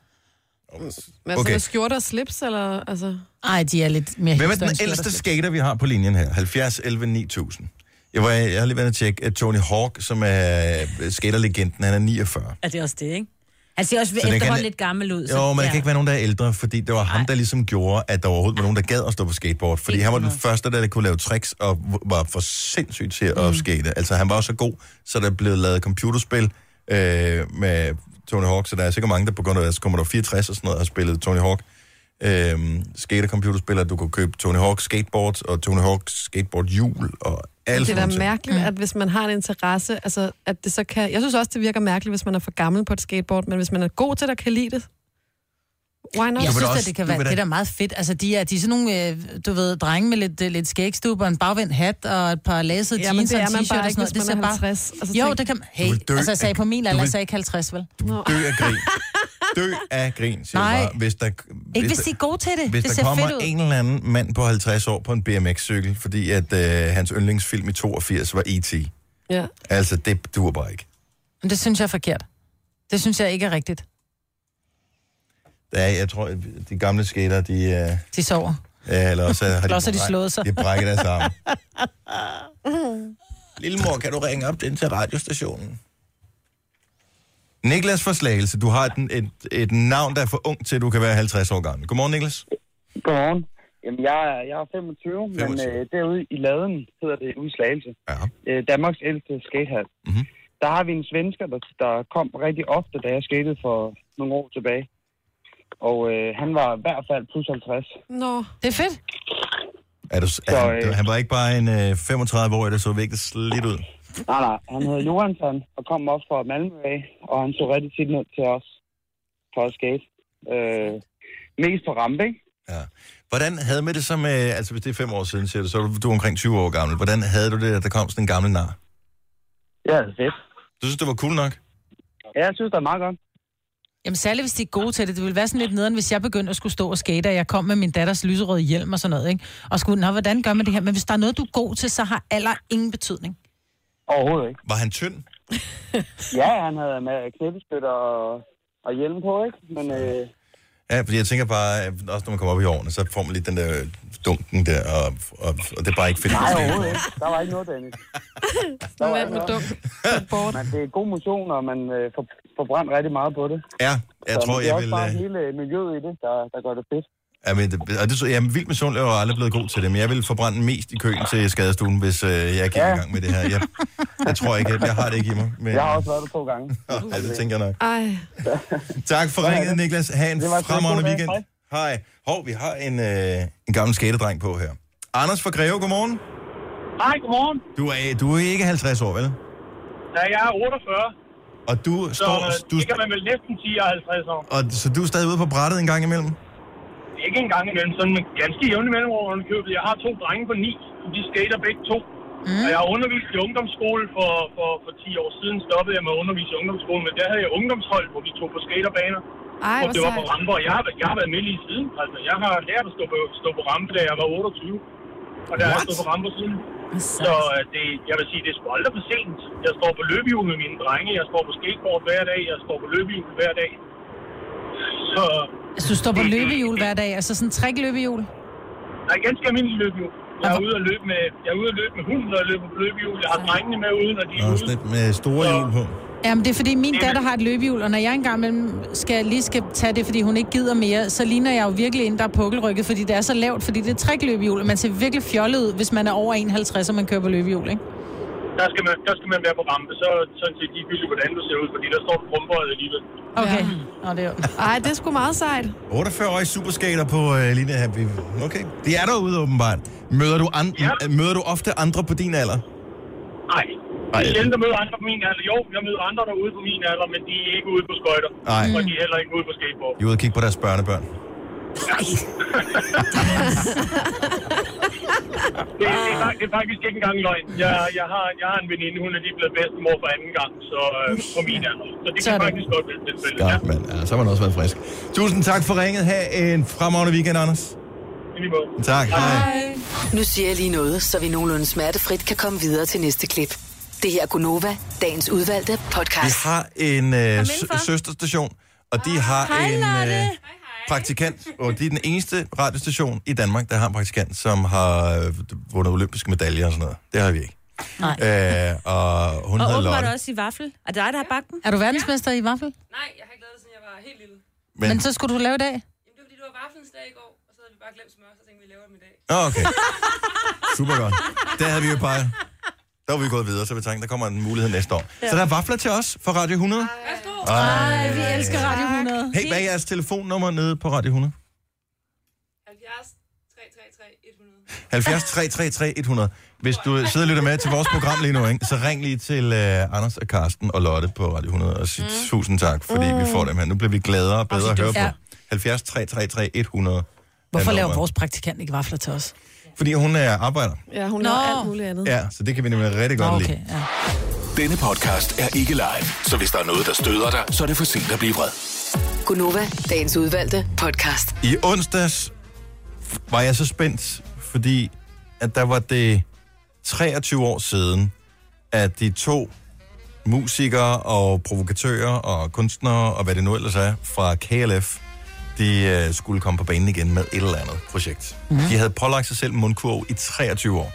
Speaker 3: Men altså,
Speaker 2: Okay.
Speaker 3: okay. skjorter og slips, eller... Altså,
Speaker 5: Nej, de er lidt mere
Speaker 2: Hvem er
Speaker 5: hipster
Speaker 2: den
Speaker 5: end
Speaker 2: ældste
Speaker 5: skater.
Speaker 2: skater, vi har på linjen her? 70, 11, 9000. Jeg, var, jeg har lige været at tjekke at Tony Hawk, som er skaterlegenden, han er 49.
Speaker 4: Ja, det er også det, ikke? Han ser også
Speaker 2: den kan-
Speaker 4: efterhånden lidt gammel ud.
Speaker 2: Jo, men der
Speaker 4: ja.
Speaker 2: kan ikke være nogen, der er ældre, fordi det var ham, der ligesom gjorde, at der overhovedet var nogen, der gad at stå på skateboard. Fordi han var den første, der kunne lave tricks og var for sindssygt til at skate. Altså, han var så god, så der blev lavet computerspil øh, med Tony Hawk. Så der er sikkert mange, der på grund af altså, deres Commodore 64 og sådan noget, har spillet Tony Hawk. Øh, skatercomputerspil, at du kunne købe Tony Hawk skateboard og Tony Hawk skateboard hjul og alt
Speaker 3: det er da mærkeligt, at hvis man har en interesse, altså, at det så kan... Jeg synes også, det virker mærkeligt, hvis man er for gammel på et skateboard, men hvis man er god til det og kan lide det, why not?
Speaker 5: Jeg
Speaker 2: vil
Speaker 5: synes,
Speaker 2: da
Speaker 5: at
Speaker 2: også-
Speaker 5: det kan
Speaker 2: du
Speaker 5: være,
Speaker 2: vil da-
Speaker 5: det er da meget fedt. Altså, de er, de er sådan nogle, øh, du ved, drenge med lidt, øh, lidt skægstub og en bagvendt hat og et par læsede
Speaker 3: Ja, men
Speaker 5: jeans
Speaker 3: det
Speaker 5: og en
Speaker 3: er man
Speaker 5: t-shirt
Speaker 3: bare
Speaker 5: og
Speaker 3: ikke,
Speaker 5: sådan noget.
Speaker 3: hvis man
Speaker 5: ser
Speaker 3: er 50. Altså,
Speaker 5: jo,
Speaker 3: tænk-
Speaker 5: det kan Hey,
Speaker 2: Du vil dø
Speaker 5: altså, jeg sagde
Speaker 2: af-
Speaker 5: på min
Speaker 2: du
Speaker 5: alder,
Speaker 2: vil-
Speaker 5: jeg sagde ikke 50, vel?
Speaker 2: Dø af grin. Dø af grin, siger
Speaker 5: Nej.
Speaker 2: Nej. Bare, hvis der,
Speaker 5: Ikke hvis
Speaker 2: der-
Speaker 5: de er gode til det.
Speaker 2: Hvis
Speaker 5: det
Speaker 2: der
Speaker 5: ser
Speaker 2: kommer
Speaker 5: fedt ud.
Speaker 2: en eller anden mand på 50 år på en BMX-cykel, fordi at øh, hans yndlingsfilm i 82 var E.T.
Speaker 3: Ja.
Speaker 2: Altså, det dur bare ikke.
Speaker 5: Men det synes jeg er forkert. Det synes jeg ikke er rigtigt.
Speaker 2: Der er, jeg tror, at de gamle skater, de... Øh,
Speaker 5: De sover.
Speaker 2: ja, eller også, øh, har
Speaker 5: Eller også har de slået sig.
Speaker 2: De har brækket deres arme. Lillemor, kan du ringe op den til radiostationen? Niklas Forslagelse, du har et, et, et navn, der er for ung til, at du kan være 50 år gammel. Godmorgen, Niklas.
Speaker 9: Godmorgen. Jamen, jeg er, jeg er 25, 25. men
Speaker 2: 25.
Speaker 9: øh, derude i laden hedder det Udslagelse.
Speaker 2: Ja.
Speaker 9: Øh, Danmarks ældste skatehal.
Speaker 2: Mhm.
Speaker 9: Mm-hmm. Der har vi en svensker, der, der kom rigtig ofte, da jeg skatede for nogle år tilbage. Og øh, han var i hvert fald plus 50.
Speaker 3: Nå, det er fedt.
Speaker 2: Er du, er han, han var ikke bare en øh, 35-årig, der så virkelig slidt ud.
Speaker 9: Nej, nej. Han hed Johansson og kom også fra Malmø af, og han tog rigtig tit ned til os for at skate. Øh, mest på rampe, ikke?
Speaker 2: Hvordan havde med det som, øh, altså hvis det er fem år siden, siger du, så er du- du er omkring 20 år gammel. Hvordan havde du det, at der kom sådan en gammel nar?
Speaker 9: Ja, det er fedt.
Speaker 2: Du synes, det var cool nok?
Speaker 9: Ja, jeg synes, det er meget godt.
Speaker 5: Jamen særligt, hvis de er gode til det. Det ville være sådan lidt nederen, hvis jeg begyndte at skulle stå og skate, og jeg kom med min datters lyserøde hjelm og sådan noget, ikke? Og skulle, nå, hvordan gør man det her? Men hvis der er noget, du er god til, så har alder ingen betydning.
Speaker 9: Overhovedet ikke.
Speaker 2: Var han tynd?
Speaker 9: Ja, han havde med knæbeskytter og, og hjelm på, ikke? Men øh,
Speaker 2: Ja, fordi jeg tænker bare, at også når man kommer op i årene, så får man lidt den der dunken der, og, og, og det er bare ikke fedt.
Speaker 9: nej, overhovedet ikke. Der var ikke noget, Dennis.
Speaker 3: Nu er med dunk på et board.
Speaker 9: Men det er god motion, og man øh, får, får brændt rigtig meget på det.
Speaker 2: Ja, jeg
Speaker 9: Så
Speaker 2: tror,
Speaker 9: det er
Speaker 2: jeg
Speaker 9: også
Speaker 2: vil...
Speaker 9: bare
Speaker 2: øh,
Speaker 9: et lille miljø i det, der, der gør det fedt.
Speaker 2: Ja, men det, og det, så- jamen, vild med sund er jo aldrig blevet god til det, men jeg vil forbrænde mest i køen til skadestuen, hvis øh, jeg gik
Speaker 9: Ja.
Speaker 2: i gang med det her. Jeg, jeg tror ikke, jeg, jeg har det ikke i mig. Men,
Speaker 9: Jeg har også været der to gange.
Speaker 2: ja, det tænker jeg nok.
Speaker 3: Ej,
Speaker 2: Tak for ringet, Niklas. Ha' en
Speaker 9: Det var så
Speaker 2: fremragende
Speaker 9: god dag.
Speaker 2: weekend. Hej. Hov, vi har en, øh, en gammel skatedreng på her. Anders fra Greve, godmorgen.
Speaker 7: Hej, godmorgen.
Speaker 2: Du er, du er ikke 50 år, vel?
Speaker 7: Ja, jeg er 48,
Speaker 2: Og du
Speaker 7: så
Speaker 2: står...
Speaker 7: øh,
Speaker 2: Du,
Speaker 7: det kan man vel næsten sige, jeg er 50 år.
Speaker 2: og, så du er stadig ude på brættet en gang imellem?
Speaker 7: Ikke engang imellem, sådan en ganske jævne mellemrum under købet. Jeg har to drenge på ni, og de skater begge to. Mm. Og jeg har undervist i ungdomsskole for, for, for 10 år siden, stoppede jeg med at undervise i ungdomsskole, men der havde jeg ungdomshold, hvor vi tog på skaterbaner.
Speaker 3: ej,
Speaker 7: og
Speaker 3: hvor
Speaker 7: det var på
Speaker 3: sejt.
Speaker 7: ramper, og jeg har, været- jeg har været med lige siden. Altså, jeg har lært at stå på, stå på rampe, da jeg var 28. Og der har jeg
Speaker 2: What?
Speaker 7: stået på ramper siden.
Speaker 4: Så,
Speaker 7: Så øh, det, jeg vil sige, det er sgu aldrig for sent. Jeg står på løbehjul med mine drenge, jeg står på skateboard hver dag, jeg står på løbehjul hver dag. Så
Speaker 5: Altså, du står på løbehjul hver dag, altså sådan en trækløbehjul.
Speaker 7: der er ganske almindelig løbehjul. Jeg er ude at løbe med, jeg er ude at løbe med hunden, og jeg løber på løbehjul. Jeg har drengene med ude, når de er
Speaker 2: Nå,
Speaker 7: ude.
Speaker 2: sådan lidt med store hjul på.
Speaker 5: Jamen, det er fordi, min datter har et løbehjul, og når jeg engang imellem skal, lige skal tage det, fordi hun ikke gider mere, så ligner jeg jo virkelig en, der er pukkelrykket, fordi det er så lavt, fordi det er et trækløbehjul, og man ser virkelig fjollet ud, hvis man er over 51, og man kører på løbehjul, ikke?
Speaker 7: Der skal, man, der skal man være på rampe, så sådan set ligegyldigt, hvordan du ser ud, fordi der står krumperet alligevel.
Speaker 5: Okay.
Speaker 3: Ja.
Speaker 5: Nå, det er jo-
Speaker 3: Ej, det er sgu meget sejt.
Speaker 2: 48-årig superskater på øh, Line Happy. Okay, de er derude åbenbart. Møder du, an-
Speaker 7: Ja.
Speaker 2: møder du ofte andre på din alder?
Speaker 7: Nej.
Speaker 2: Ej.
Speaker 7: Det er sjældent at møde andre på min alder. Jo, jeg møder andre derude på min alder, men de er ikke ude på skøjter.
Speaker 2: Nej.
Speaker 7: Og de er heller ikke ude på skateboard.
Speaker 2: De er ude og kigge på deres børnebørn.
Speaker 7: Det, det, er, fak- det er faktisk ikke engang løgn. Jeg, jeg, har, jeg har en veninde, hun er lige blevet bedstemor for anden gang, så øh, på min alder. Så det kan
Speaker 5: Sådan.
Speaker 7: faktisk godt være tilfældet. Ja,
Speaker 2: Godt, mand. Ja, så har man også været frisk. Tusind tak for ringet. Ha' en fremragende weekend, Anders.
Speaker 7: i lige måde.
Speaker 2: Tak. Hej.
Speaker 6: Nu siger jeg lige noget, så vi nogenlunde smertefrit kan komme videre til næste klip. Det her er Gunova, dagens udvalgte
Speaker 2: Vi
Speaker 6: podcast.
Speaker 2: har en øh, sø- søsterstation, og
Speaker 4: Ah,
Speaker 2: de har en øh, praktikant, og de er den eneste radiostation i Danmark, der har en praktikant, som har øh, vundet olympiske medaljer og sådan noget. Det har vi ikke. Æh, og hun
Speaker 4: nej. Og
Speaker 2: hedder
Speaker 4: åbenbart
Speaker 2: Lotte.
Speaker 4: også i vaffel. Er det dig, der har bagt den?
Speaker 5: Er du verdensmester i vaffel?
Speaker 10: Nej, jeg har ikke lavet det, siden jeg var helt lille.
Speaker 2: Men,
Speaker 5: Men så skulle du lave i dag.
Speaker 10: Jamen, det var fordi, det var vaflens dag i går, og så havde vi bare glemt smør, så tænkte vi, vi laver dem i dag.
Speaker 2: Nå, okay. Super godt. Der havde vi jo bare... Der var vi gået videre, så vi tænkte, der kommer en mulighed næste år. Ja. Så der er vafler til os fra Radio 100.
Speaker 4: Ah,
Speaker 10: Værsgo!
Speaker 2: Ej.
Speaker 5: Vi elsker Radio 100.
Speaker 2: Hey, hvad er jeres telefonnummer nede på Radio 100?
Speaker 10: 70 333 100.
Speaker 2: 70 333 100. Hvis du sidder og lytter med til vores program lige nu, ikke, så ring lige til uh, Anders og Karsten og Lotte på Radio 100 og sig mm. tusind tak, fordi mm. vi får dem her. Nu bliver vi gladere og bedre at høre
Speaker 5: Ja.
Speaker 2: på. 70 333 100. er
Speaker 5: Hvorfor laver
Speaker 2: nummeret.
Speaker 5: vores praktikant ikke vafler til os?
Speaker 2: Fordi hun er arbejder.
Speaker 3: Ja, hun
Speaker 5: Nå.
Speaker 3: laver alt muligt andet.
Speaker 2: Ja, så det kan vi nemlig rigtig godt
Speaker 5: Okay,
Speaker 2: lide.
Speaker 5: ja.
Speaker 11: Denne podcast er ikke live, så hvis der er noget, der støder dig, så er det for sent at blive vred.
Speaker 6: Gunova, dagens udvalgte podcast.
Speaker 2: I onsdags var jeg så spændt, fordi at der var det 23 år siden, at de to musikere og provokatører og kunstnere og hvad det nu ellers er fra KLF, de øh, skulle komme på banen igen med et eller andet projekt. Mm. De havde pålagt sig selv mundkurv i 23 år.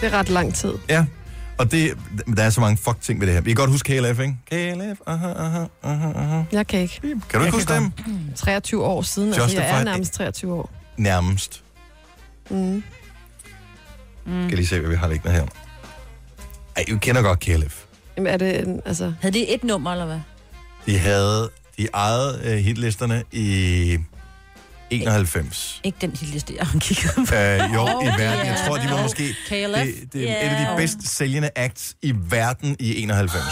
Speaker 3: Det er ret lang tid.
Speaker 2: Ja, og det, der er så mange fuck ting ved det her. Vi kan godt huske KLF, ikke? KLF, aha, aha, aha, aha.
Speaker 3: Jeg kan ikke.
Speaker 2: Kan du ikke huske dem?
Speaker 3: 23 år siden, altså jeg
Speaker 2: Justified.
Speaker 3: er nærmest 23 år.
Speaker 2: nærmest. Mm. Skal lige se, hvad vi har liggende her. Ej, I kender godt KLF.
Speaker 3: Jamen er det, en- altså,
Speaker 4: Havde det et nummer, eller hvad?
Speaker 2: De havde, De ejede øh, hitlisterne i 91.
Speaker 4: Ikke den hitliste, jeg har kigget på.
Speaker 2: Øh, jo, i verden. Jeg tror, de var måske
Speaker 4: KLF.
Speaker 2: det, det er et af de bedst sælgende acts i verden i 91.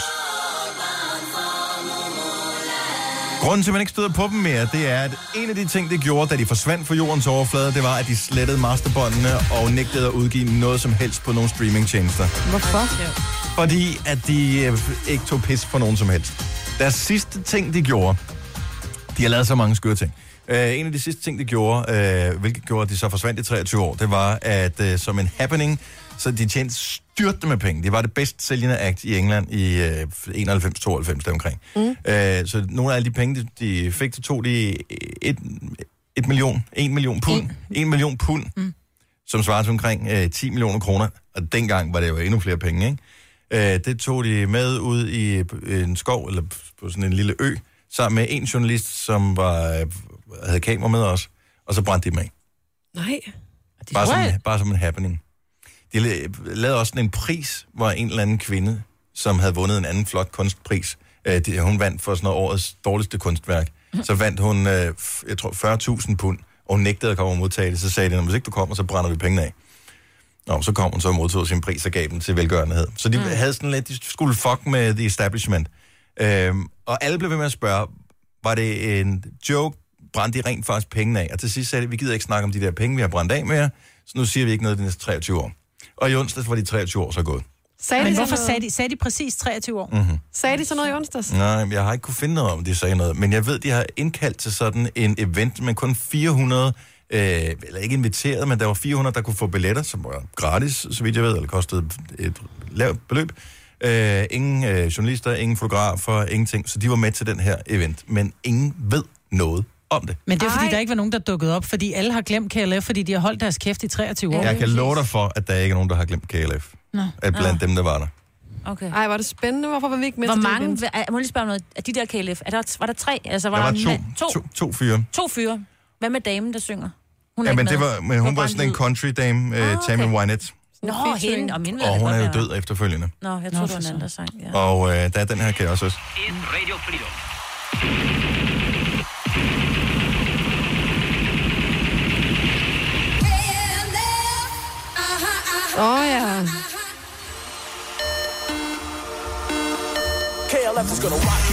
Speaker 2: Grunden til, at man ikke støder på dem mere, det er, at en af de ting, det gjorde, da de forsvandt fra jordens overflade, det var, at de slettede masterbåndene og nægtede at udgive noget som helst på nogle streamingtjenester.
Speaker 5: Hvorfor?
Speaker 2: Fordi at de øh, ikke tog pis på nogen som helst. Deres sidste ting, de gjorde, de har lavet så mange skøre ting. Uh, en af de sidste ting, de gjorde, uh, hvilket gjorde, at de så forsvandt i 23 år, det var, at uh, som en happening, så de tjente styrte med penge. Det var det bedst sælgende act i England i uh, 91-92 deromkring. Mm. Uh, så nogle af alle de penge, de, de fik, så tog de et, et million, en million pund, en, en million pund, mm. som svarer til omkring uh, 10 millioner kroner. Og dengang var det jo endnu flere penge, ikke? Øh, det tog de med ud i øh, en skov, eller på sådan en lille ø, sammen med en journalist, som var, øh, havde kamera med os, og så brændte de dem af.
Speaker 3: Nej.
Speaker 2: Bare som, en- bare som en happening. De la- lavede også sådan en pris, hvor en eller anden kvinde, som havde vundet en anden flot kunstpris, øh, de, hun vandt for sådan noget årets dårligste kunstværk. Så vandt hun, øh, f- jeg tror, 40.000 pund, og hun nægtede at komme og modtage det. Så sagde de, "Nå, hvis ikke du kommer, så brænder vi pengene af. Nå, så kom hun så og modtog sin pris og gav den til velgørenhed. Så de mm. havde sådan lidt, de skulle fuck med the establishment. Øhm, og alle blev ved med at spørge, var det en joke, brændte de rent faktisk pengene af? Og til sidst sagde de, vi gider ikke snakke om de der penge, vi har brændt af med jer, så nu siger vi ikke noget de næste 23 år. Og i onsdags var de 23 år så gået.
Speaker 3: Sagde
Speaker 5: Men
Speaker 3: de
Speaker 5: hvorfor
Speaker 3: sådan noget?
Speaker 5: sagde de, sagde de præcis 23 år?
Speaker 2: Mm-hmm.
Speaker 3: Sagde de sådan noget i onsdags?
Speaker 2: Nej, men jeg har ikke kunne finde noget om, de sagde noget. Men jeg ved, de har indkaldt til sådan en event, men kun 400, øh, eller ikke inviteret, men der var 400, der kunne få billetter, som var gratis, så vidt jeg ved, eller kostede et lavt beløb. Øh, ingen øh, journalister, ingen fotografer, ingenting. Så de var med til den her event, men ingen ved noget om det.
Speaker 5: Men det er fordi,
Speaker 3: Ej.
Speaker 5: der ikke var nogen, der dukkede op, fordi alle har glemt KLF, fordi de har holdt deres kæft i 23 år.
Speaker 2: Jeg kan love dig for, at der ikke er nogen, der har glemt KLF.
Speaker 5: Nå.
Speaker 2: At blandt dem, der var der.
Speaker 4: Okay.
Speaker 3: Ej, var det spændende. Hvorfor var vi ikke med
Speaker 4: Hvor
Speaker 3: til det
Speaker 4: mange,
Speaker 3: event?
Speaker 4: er, må jeg lige spørge om noget, af de der KLF, er der, var der tre? Altså, var
Speaker 2: Der var
Speaker 4: en mand-
Speaker 2: to,
Speaker 4: to,
Speaker 2: to, to fyre.
Speaker 4: to fyre. Hvad med damen, der synger? Hun er
Speaker 2: Ja, men,
Speaker 4: ikke
Speaker 2: det
Speaker 4: med.
Speaker 2: var, men hun var sådan en
Speaker 4: brandhvid.
Speaker 2: country dame, øh,
Speaker 4: Ah,
Speaker 2: Tammy
Speaker 4: okay.
Speaker 2: Wynette,
Speaker 4: Nå, hende, om hende ved jeg
Speaker 2: og
Speaker 4: da
Speaker 2: hun
Speaker 4: altså godt,
Speaker 2: er jo
Speaker 4: hvem
Speaker 2: død efterfølgende.
Speaker 4: Nå, jeg
Speaker 5: Nå,
Speaker 4: tror, det var
Speaker 5: for
Speaker 4: en anden, der sang. Ja.
Speaker 2: Og øh, der er den her, kan jeg også huske.
Speaker 3: Åh oh, ja.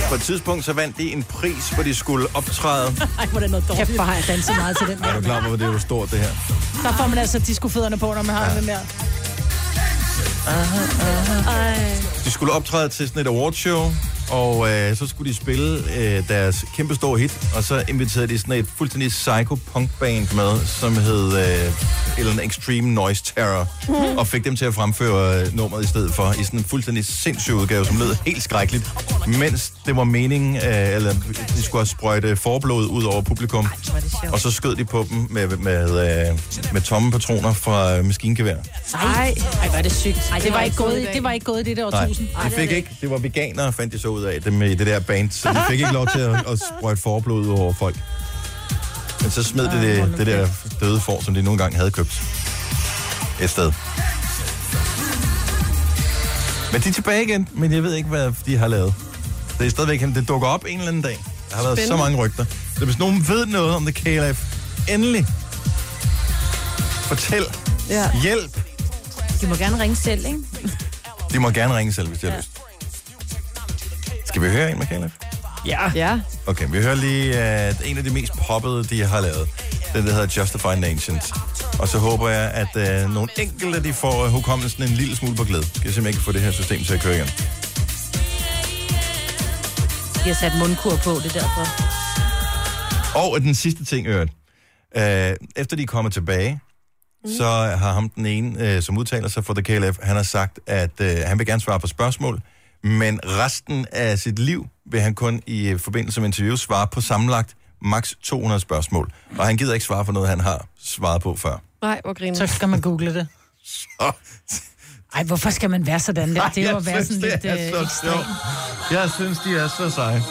Speaker 2: På et tidspunkt, så vandt de en pris, hvor de skulle optræde.
Speaker 5: Ej, hvor er det noget dårligt. Kæft, bare har jeg danset meget til den der.
Speaker 2: Er du klar over, hvor det er jo stort, det her?
Speaker 5: Der får man altså diskofødderne på, når man har ja. den der.
Speaker 2: De skulle optræde til sådan et awardshow, og øh, så skulle de spille øh, deres kæmpe store hit, og så inviterede de sådan et fuldstændig psycho punk band med, som hed øh, et eller andet Extreme Noise Terror, og fik dem til at fremføre øh, nummeret i stedet for, i sådan en fuldstændig sindssyg udgave, som lød helt skrækkeligt, mens det var meningen, øh, eller de skulle have sprøjte forblod ud over publikum, og så skød de på dem med, med, øh, med tomme patroner fra øh, maskingevær.
Speaker 5: Ej, Ej hvor er det sygt. Ej, det, var ikke gået,
Speaker 3: i dag.
Speaker 5: det var ikke gået i det der
Speaker 2: Nej,
Speaker 5: årtusind.
Speaker 2: de fik ikke. Det var veganere, fandt de så ud af, dem i det der band. Så de fik ikke lov til at, at sprøjte forblod ud over folk. Men så smed de det, det der døde får, som de nogle gange havde købt. Et sted. Men de er tilbage igen, men jeg ved ikke, hvad de har lavet. Det er stadigvæk, det dukker op en eller anden dag. Der har været så mange rygter. Så hvis nogen ved noget om det KLF, endelig fortæl.
Speaker 3: Ja.
Speaker 2: Hjælp.
Speaker 4: De må gerne ringe selv, ikke?
Speaker 2: De må gerne ringe selv, hvis de har lyst. Skal vi høre en med KLF?
Speaker 3: Ja.
Speaker 2: Okay, vi hører lige uh, en af de mest poppede, de har lavet. Den, der hedder Justify Nations. Og så håber jeg, at uh, nogle enkelte, de får uh, hukommelsen en lille smule på glæde. Skal jeg simpelthen ikke få det her system til at køre igen.
Speaker 4: De har sat mundkur på, det er derfor.
Speaker 2: Og den sidste ting, øvrigt. Uh, efter de er kommet tilbage, mm. så har ham den ene, uh, som udtaler sig for The KLF, han har sagt, at uh, han vil gerne svare på spørgsmål, men resten af sit liv vil han kun i øh, forbindelse med interviews svare på sammenlagt maks 200 spørgsmål. Og han gider ikke svare for noget, han har svaret på før.
Speaker 3: Nej, hvor griner.
Speaker 5: Så skal man google det.
Speaker 2: Så
Speaker 5: Ej, hvorfor skal man være sådan der? Det er jo at være sådan lidt øh, ekstrem.
Speaker 2: Jeg synes, de er så seje.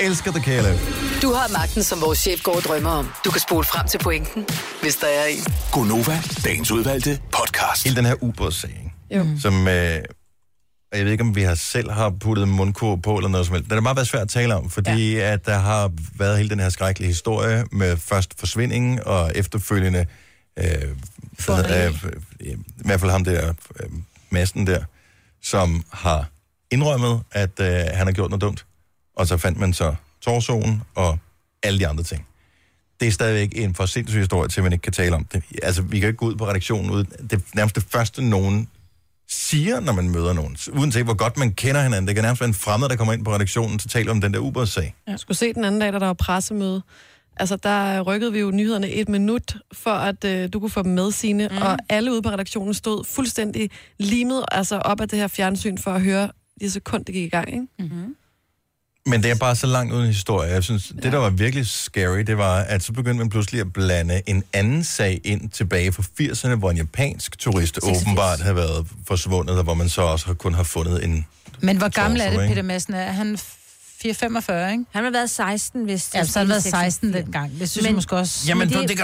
Speaker 2: Elsker The KLF.
Speaker 6: Du har magten, som vores chef går og drømmer om. Du kan spole frem til pointen, hvis der er en.
Speaker 7: Gonova, dagens udvalgte podcast.
Speaker 2: Hele den her ubådssag, ikke?
Speaker 3: Jo.
Speaker 2: som øh, og jeg ved ikke, om vi har selv har puttet mundkur på eller noget som helst. Det har bare været svært at tale om, fordi ja. at der har været hele den her skrækkelige historie med først forsvindingen og efterfølgende... Øh, hvad hedder- øh, øh, I hvert fald ham der, øh, massen der, som har indrømmet, at øh, han har gjort noget dumt. Og så fandt man så torsoen og alle de andre ting. Det er stadigvæk en for sindssyg historie til, at man ikke kan tale om det. Altså, vi kan jo ikke gå ud på redaktionen uden... Det er nærmest det første, nogen siger, når man møder nogen. Uanset hvor godt man kender hinanden. Det kan nærmest være en fremmed, der kommer ind på redaktionen til at tale om den der Uber-sag.
Speaker 3: Jeg skulle se den anden dag, da der var pressemøde. Altså, der rykkede vi jo nyhederne et minut, for at øh, du kunne få dem med, sine mm. Og alle ude på redaktionen stod fuldstændig limet altså op af det her fjernsyn for at høre de sekund, det gik i gang, ikke? Mm-hmm.
Speaker 2: Men det er bare så langt uden historie. Jeg synes, det, der var virkelig scary, det var, at så begyndte man pludselig at blande en anden sag ind tilbage fra 80'erne, hvor en japansk turist
Speaker 5: 86.
Speaker 2: åbenbart havde været forsvundet, og hvor man så også har- kun har fundet en...
Speaker 5: Men hvor gammel er
Speaker 2: Torso,
Speaker 5: det,
Speaker 2: ikke?
Speaker 5: Peter Madsen er? Er Han 445, ikke?
Speaker 4: Han har været 16, hvis...
Speaker 5: Ja, så har han været 16 dengang. Det synes jeg måske også...
Speaker 4: men det,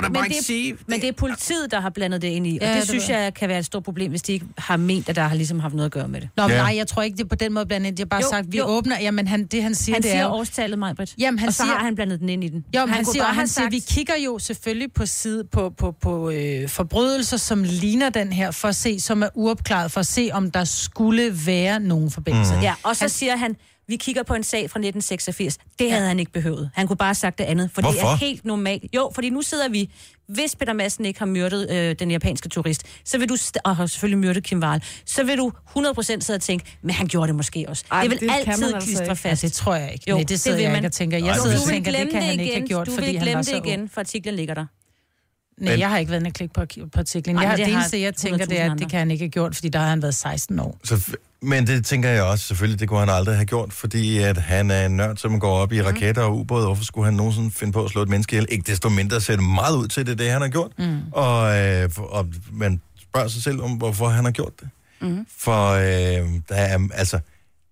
Speaker 4: Men det er politiet, der har blandet det ind i, og
Speaker 5: Ja,
Speaker 4: ja, det,
Speaker 5: det
Speaker 4: det synes
Speaker 5: ved
Speaker 4: jeg kan være et stort problem, hvis de ikke har ment, at der har ligesom haft noget at gøre med det.
Speaker 5: Nå, men nej, jeg tror ikke, det er på den måde blandt andet. Jeg har bare
Speaker 4: Jo,
Speaker 5: jo, sagt, vi
Speaker 4: jo.
Speaker 5: jo. åbner... Jamen, han, det han siger,
Speaker 4: Han
Speaker 5: det er
Speaker 4: siger
Speaker 5: jo-
Speaker 4: årstallet, Majbrit.
Speaker 5: Jamen, han
Speaker 4: og så
Speaker 5: siger-
Speaker 4: har han blandet den ind i den.
Speaker 5: Jo, men han,
Speaker 4: kunne
Speaker 5: siger,
Speaker 4: bare
Speaker 5: og han
Speaker 4: have
Speaker 5: siger, vi kigger jo selvfølgelig på side på, på, på øh, forbrydelser, som ligner den her, for at se, som er uopklaret, for at se, om der skulle være nogen forbindelse.
Speaker 2: Mhm.
Speaker 4: Ja, og så han... siger han, vi kigger på en sag fra 1986. Det havde ja. han ikke behøvet. Han kunne bare have sagt det andet, for det er
Speaker 5: Hvorfor?
Speaker 4: helt normalt. Jo, fordi nu sidder vi. Hvis Peter Madsen ikke har myrdet øh, den japanske turist, så vil du, st- og har selvfølgelig myrdet Kim Wahl, så vil du 100% sidde og tænke, men han gjorde det måske også. Ej, det vil
Speaker 5: det
Speaker 4: det
Speaker 5: kan
Speaker 4: altid
Speaker 5: man altså
Speaker 4: klistre
Speaker 5: ikke.
Speaker 4: fast.
Speaker 5: Ja, det tror jeg ikke. Nej, det sidder
Speaker 4: vil
Speaker 5: jeg
Speaker 4: man.
Speaker 5: ikke og tænker. Jeg
Speaker 4: Jo,
Speaker 5: sidder
Speaker 4: du
Speaker 5: og
Speaker 4: vil
Speaker 5: tænker, det
Speaker 4: glemme
Speaker 5: kan han ikke have gjort,
Speaker 4: du
Speaker 5: fordi
Speaker 4: vil
Speaker 5: han
Speaker 4: glemme
Speaker 5: var
Speaker 4: det
Speaker 5: så ung.
Speaker 4: igen, for artiklen ligger der.
Speaker 5: Nej,
Speaker 4: Men-
Speaker 5: jeg har ikke været inde og klikke på, arki- på artiklen.
Speaker 4: Nej,
Speaker 5: Jeg,
Speaker 4: men
Speaker 5: har,
Speaker 4: det
Speaker 5: det, det
Speaker 4: har
Speaker 5: eneste, jeg tænker, det er, at
Speaker 4: 100.000
Speaker 5: det kan han ikke have gjort, fordi der har han været 16 år.
Speaker 2: Så, f- men det tænker jeg også, selvfølgelig, det kunne han aldrig have gjort, fordi at han er en nørd, som går op i raketter og ubåde. Hvorfor skulle han nogensinde finde på at slå et menneske ihjel? Ikke desto mindre ser det meget ud til det, det han har gjort. Mm. Og, øh, og man spørger sig selv om, hvorfor han har gjort det.
Speaker 12: Mm.
Speaker 2: For øh, der er, altså,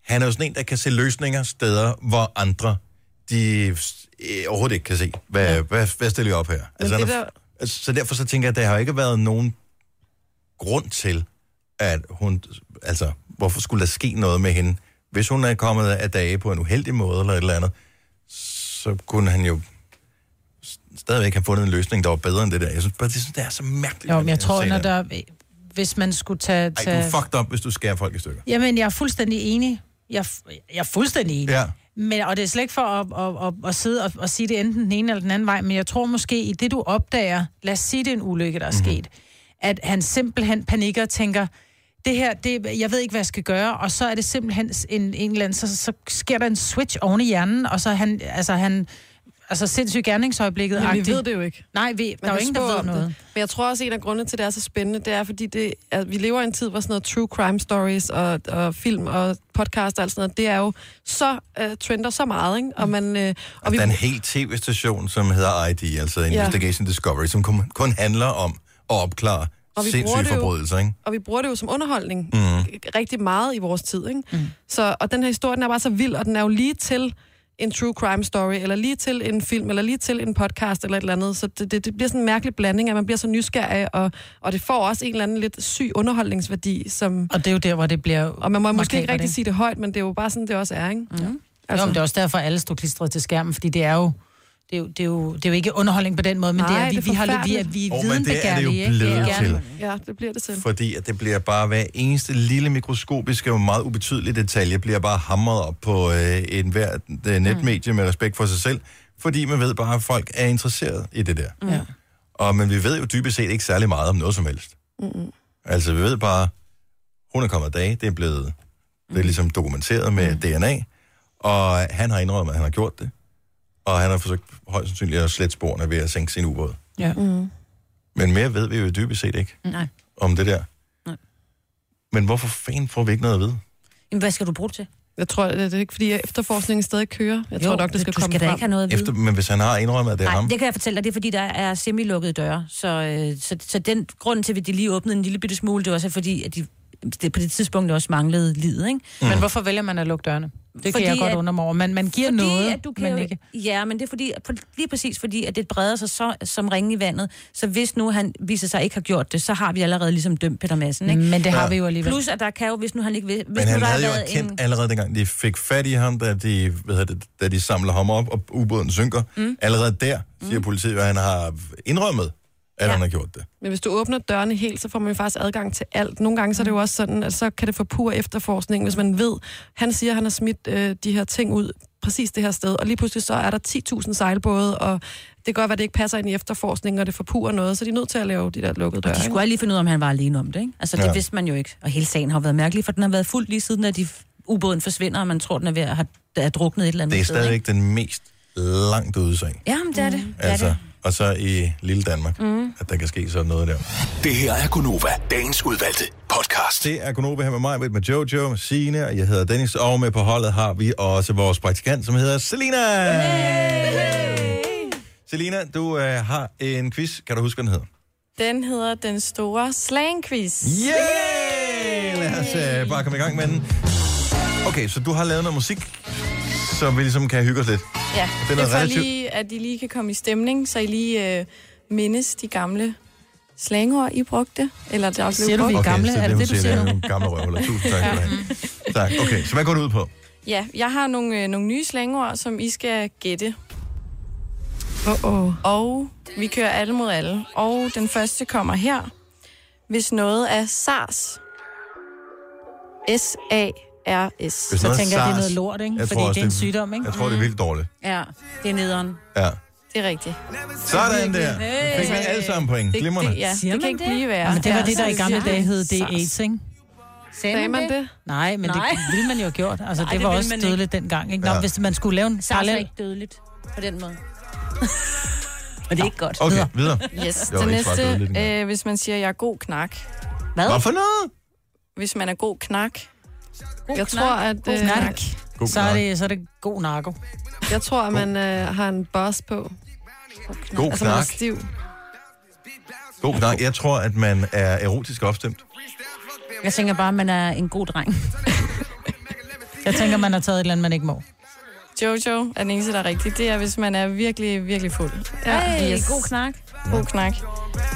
Speaker 2: han er jo sådan en, der kan se løsninger steder, hvor andre de øh, overhovedet ikke kan se. Hvad, ja. hvad, hvad stiller jeg op her? Altså,
Speaker 3: det
Speaker 2: han er, altså, så derfor så tænker jeg, at der har ikke været nogen grund til, at hun... Altså, hvorfor skulle der ske noget med hende? Hvis hun er kommet af dage på en uheldig måde eller et eller andet, så kunne han jo s- stadigvæk have fundet en løsning, der var bedre end det der. Jeg synes bare, det, synes, det er så mærkeligt.
Speaker 5: Jo,
Speaker 2: at
Speaker 5: men jeg
Speaker 2: har
Speaker 5: tror,
Speaker 2: set
Speaker 5: når
Speaker 2: det.
Speaker 5: der, hvis man skulle tage...
Speaker 2: Ej,
Speaker 5: tage...
Speaker 2: du er fucked up, hvis du skærer folk i stykker.
Speaker 5: Jamen, jeg er fuldstændig enig. Jeg, er fu- jeg er fuldstændig enig.
Speaker 2: Ja.
Speaker 5: Men, og det er slet ikke for at, at, at, at sidde og at sige det enten den ene eller den anden vej, men jeg tror måske, i det du opdager, lad os sige, det er en ulykke, der er sket, at han simpelthen panikker og tænker, det her, det, jeg ved ikke, hvad jeg skal gøre, og så er det simpelthen en, en eller anden, så, så sker der en switch oven i hjernen, og så er han, altså han, altså sindssygt gerningsøjeblikket.
Speaker 3: Men vi ved det jo ikke.
Speaker 5: Nej, vi, der er jo ingen, der ved noget.
Speaker 3: Det. Men jeg tror også, at en af grundene til, at det er så spændende, det er, fordi det, at vi lever i en tid, hvor sådan noget true crime stories og, og film og podcast og alt sådan noget, det er jo så uh, trender så meget, ikke?
Speaker 5: Mm.
Speaker 3: Og, man, uh,
Speaker 2: Og der er en hel tv-station, som hedder ID, altså Investigation Discovery, som kun, kun handler om at opklare
Speaker 3: Og vi bruger
Speaker 2: sindssyge
Speaker 3: det jo-
Speaker 2: forbrydelser, ikke?
Speaker 3: og vi bruger det jo som underholdning
Speaker 2: Mhm.
Speaker 3: mm. rigtig meget i vores tid. Ikke? Mm. Så, og den her historie, den er bare så vild, og den er jo lige til en true crime story, eller lige til en film, eller lige til en podcast, eller et eller andet. Så det, det, det bliver sådan en mærkelig blanding, at man bliver så nysgerrig, og, og det får også en eller anden lidt syg underholdningsværdi. Som,
Speaker 5: og det er jo der, hvor det bliver
Speaker 3: Og man må måske
Speaker 5: makabert,
Speaker 3: ikke rigtig
Speaker 5: ikke?
Speaker 3: sige det højt, men det er jo bare sådan, det også er, ikke? Mm.
Speaker 5: Altså. Jo, men det er også derfor, alle står klistret til skærmen, fordi det er jo, det er jo, det er jo, det er jo ikke underholdning på den måde, men Nej, det er, vi, vi, har, vi er, vi er
Speaker 2: Åh, men det er det jo
Speaker 5: videnbegærlige, ikke?
Speaker 2: blevet
Speaker 5: Ja.
Speaker 2: til.
Speaker 3: Ja, det bliver det til.
Speaker 2: Fordi at det bliver bare hver eneste lille mikroskopiske og meget ubetydelige detalje, bliver bare hamret op på øh, enhver øh, netmedie med respekt for sig selv, fordi man ved bare, at folk er interesseret i det der.
Speaker 5: Ja.
Speaker 2: Og men vi ved jo dybest set ikke særlig meget om noget som helst.
Speaker 3: Mm-mm.
Speaker 2: Altså, vi ved bare, hun er kommet af dage, det er blevet det er ligesom dokumenteret med mm. DNA, og han har indrømmet, at han har gjort det, og han har forsøgt højst sandsynligt at slette sporene ved at sænke sin ubåd.
Speaker 5: Ja.
Speaker 3: Mm.
Speaker 2: Men mere ved vi jo dybest set ikke
Speaker 4: Nej.
Speaker 2: om det der.
Speaker 4: Nej.
Speaker 2: Men hvorfor fanden får vi ikke noget at vide?
Speaker 4: Jamen, hvad skal du bruge det til?
Speaker 3: Jeg tror, det er ikke, fordi efterforskningen stadig kører. Jeg jo, tror nok, det skal
Speaker 4: du
Speaker 3: komme
Speaker 4: skal da
Speaker 3: frem.
Speaker 4: ikke have noget at vide.
Speaker 2: Efter, men hvis han har indrømmet, at det er
Speaker 4: Nej,
Speaker 2: ham,
Speaker 4: det kan jeg fortælle dig, det er fordi, der er semilukkede døre. Så, øh, så, så den grund til, at de lige åbnede en lille bitte smule, det var også fordi, at de det på det tidspunkt også manglede livet, ikke?
Speaker 5: Men hvorfor vælger man at lukke dørene? Det kan jeg godt undre mig over. Man, man giver
Speaker 4: fordi,
Speaker 5: noget,
Speaker 4: at du kan
Speaker 5: men
Speaker 4: jo,
Speaker 5: ikke...
Speaker 4: Ja, men det er fordi, lige præcis fordi, at det breder sig så, som ringe i vandet. Så hvis nu han viser sig ikke har gjort det, så har vi allerede ligesom dømt Peter Madsen. Ikke?
Speaker 5: Men det har Ja. vi jo alligevel.
Speaker 4: Plus, at der kan jo, hvis nu han ikke vil... Hvis
Speaker 2: Men
Speaker 4: nu
Speaker 2: han
Speaker 4: der har
Speaker 2: havde jo
Speaker 4: været
Speaker 2: erkendt en... allerede dengang, de fik fat i ham, da de, hvad hedder det, da de samler ham op, og ubåden synker. Mm. Allerede der siger politiet, at han har indrømmet, at ja. han har gjort det.
Speaker 3: Men hvis du åbner dørene helt, så får man jo faktisk adgang til alt. Nogle gange så er det jo også sådan, at så kan det forpure efterforskningen, hvis man ved, han siger, at han har smidt øh, de her ting ud præcis det her sted, og lige pludselig så er der 10.000 sejlbåde, og det kan godt være, at det ikke passer ind i efterforskningen, og det forpurer noget, så de er nødt til at lave de der lukkede døre.
Speaker 4: De skulle lige finde ud af, om han var alene om det, ikke? Altså, det
Speaker 3: Ja.
Speaker 4: ja. vidste man jo ikke. Og hele sagen har jo været mærkelig, for den har været fuld lige siden, at de ubåden forsvinder, og man tror, den er ved at have er druknet et eller andet
Speaker 2: Det er
Speaker 4: sted, ikke?
Speaker 2: stadigvæk den mest langt ude sag.
Speaker 4: Ja, men det er det. Mm. det, er
Speaker 2: Altså,
Speaker 4: det.
Speaker 2: og så i lille Danmark,
Speaker 4: Mm.
Speaker 2: mm. at der kan ske sådan noget der. Det her er Gunova, dagens udvalgte podcast. Det er Gunova her med mig, med Jojo, med Signe, og jeg hedder Dennis, og med på holdet har vi også vores praktikant, som hedder Selina. Selina, du øh, har en quiz. Kan du huske, hvad den hedder?
Speaker 12: Den hedder Den Store Slang Quiz.
Speaker 2: Yeah! Lad os øh, bare komme i gang med den. Okay, så du har lavet noget musik, så vi ligesom kan hygge os lidt.
Speaker 12: Ja,
Speaker 2: Den er
Speaker 12: det er for
Speaker 2: relativt-
Speaker 12: lige, at I lige kan komme i stemning, så I lige øh, mindes de gamle slangord, I brugte. Eller der blev brugt.
Speaker 2: Okay, så det, hun siger, det er nogle gamle røvhuller. Tusind tak. Ja. tak. Okay, så hvad går det ud på?
Speaker 12: Ja, jeg har nogle, øh, nogle nye slangord, som I skal gætte.
Speaker 3: Uh-oh.
Speaker 12: Og vi kører alle mod alle. Og den første kommer her. Hvis noget er SARS. S-A-R-S.
Speaker 2: Hvis
Speaker 5: Så
Speaker 2: noget
Speaker 5: tænker jeg, det er
Speaker 2: SARS,
Speaker 5: noget lort, ikke?
Speaker 2: jeg
Speaker 5: Fordi
Speaker 2: tror
Speaker 5: det er en
Speaker 2: også,
Speaker 5: sygdom, ikke? Mm.
Speaker 2: Jeg tror, det er vildt dårligt.
Speaker 4: Ja, det er nederen.
Speaker 2: Ja.
Speaker 12: Det er rigtigt.
Speaker 2: Sådan der. Fik man alle sammen point.
Speaker 12: Det-
Speaker 2: Glimrende.
Speaker 12: det- ja. Siger Det kan man ikke det? blive værre.
Speaker 5: Ja, men det var
Speaker 12: Ja,
Speaker 5: det, der i
Speaker 12: så-
Speaker 5: gamle
Speaker 12: ja.
Speaker 5: dage hed, det er
Speaker 12: Sars.
Speaker 5: AIDS, ikke?
Speaker 12: Sagde man man det? det?
Speaker 5: Nej, men
Speaker 4: Nej.
Speaker 5: det ville man jo have gjort. Altså,
Speaker 4: Nej,
Speaker 5: det
Speaker 4: det
Speaker 5: var
Speaker 4: ville
Speaker 5: også
Speaker 4: man ikke.
Speaker 5: dødeligt dengang, ikke? Nå,
Speaker 4: Ja.
Speaker 5: hvis man skulle lave en
Speaker 4: SARS er
Speaker 5: parallel...
Speaker 4: ikke dødeligt på den måde. Men det er ikke godt.
Speaker 5: Okay, videre.
Speaker 12: Yes,
Speaker 5: Det var
Speaker 12: det
Speaker 5: ikke svaret
Speaker 12: næste,
Speaker 5: dødeligt,
Speaker 12: øh, hvis man siger, jeg er god knak.
Speaker 4: Hvad?
Speaker 2: Hvad for noget?
Speaker 12: Hvis man er god knak.
Speaker 3: God
Speaker 12: jeg
Speaker 3: knak.
Speaker 12: tror, at...
Speaker 3: God
Speaker 12: øh,
Speaker 3: knak.
Speaker 2: God
Speaker 5: Så er det, så er det god narko.
Speaker 3: Jeg tror, at man øh, har en boss på.
Speaker 2: God
Speaker 3: Altså, man er
Speaker 2: knak.
Speaker 3: stiv.
Speaker 2: God knak. Jeg tror, at man er erotisk opstemt.
Speaker 4: Jeg tænker bare, at man er en god dreng.
Speaker 5: Jeg tænker, man har taget et eller andet, man ikke må.
Speaker 12: Jojo er den eneste, der er rigtig. Det er, hvis man er virkelig, virkelig fuld.
Speaker 4: Ja. Hey, god knak.
Speaker 12: God knak.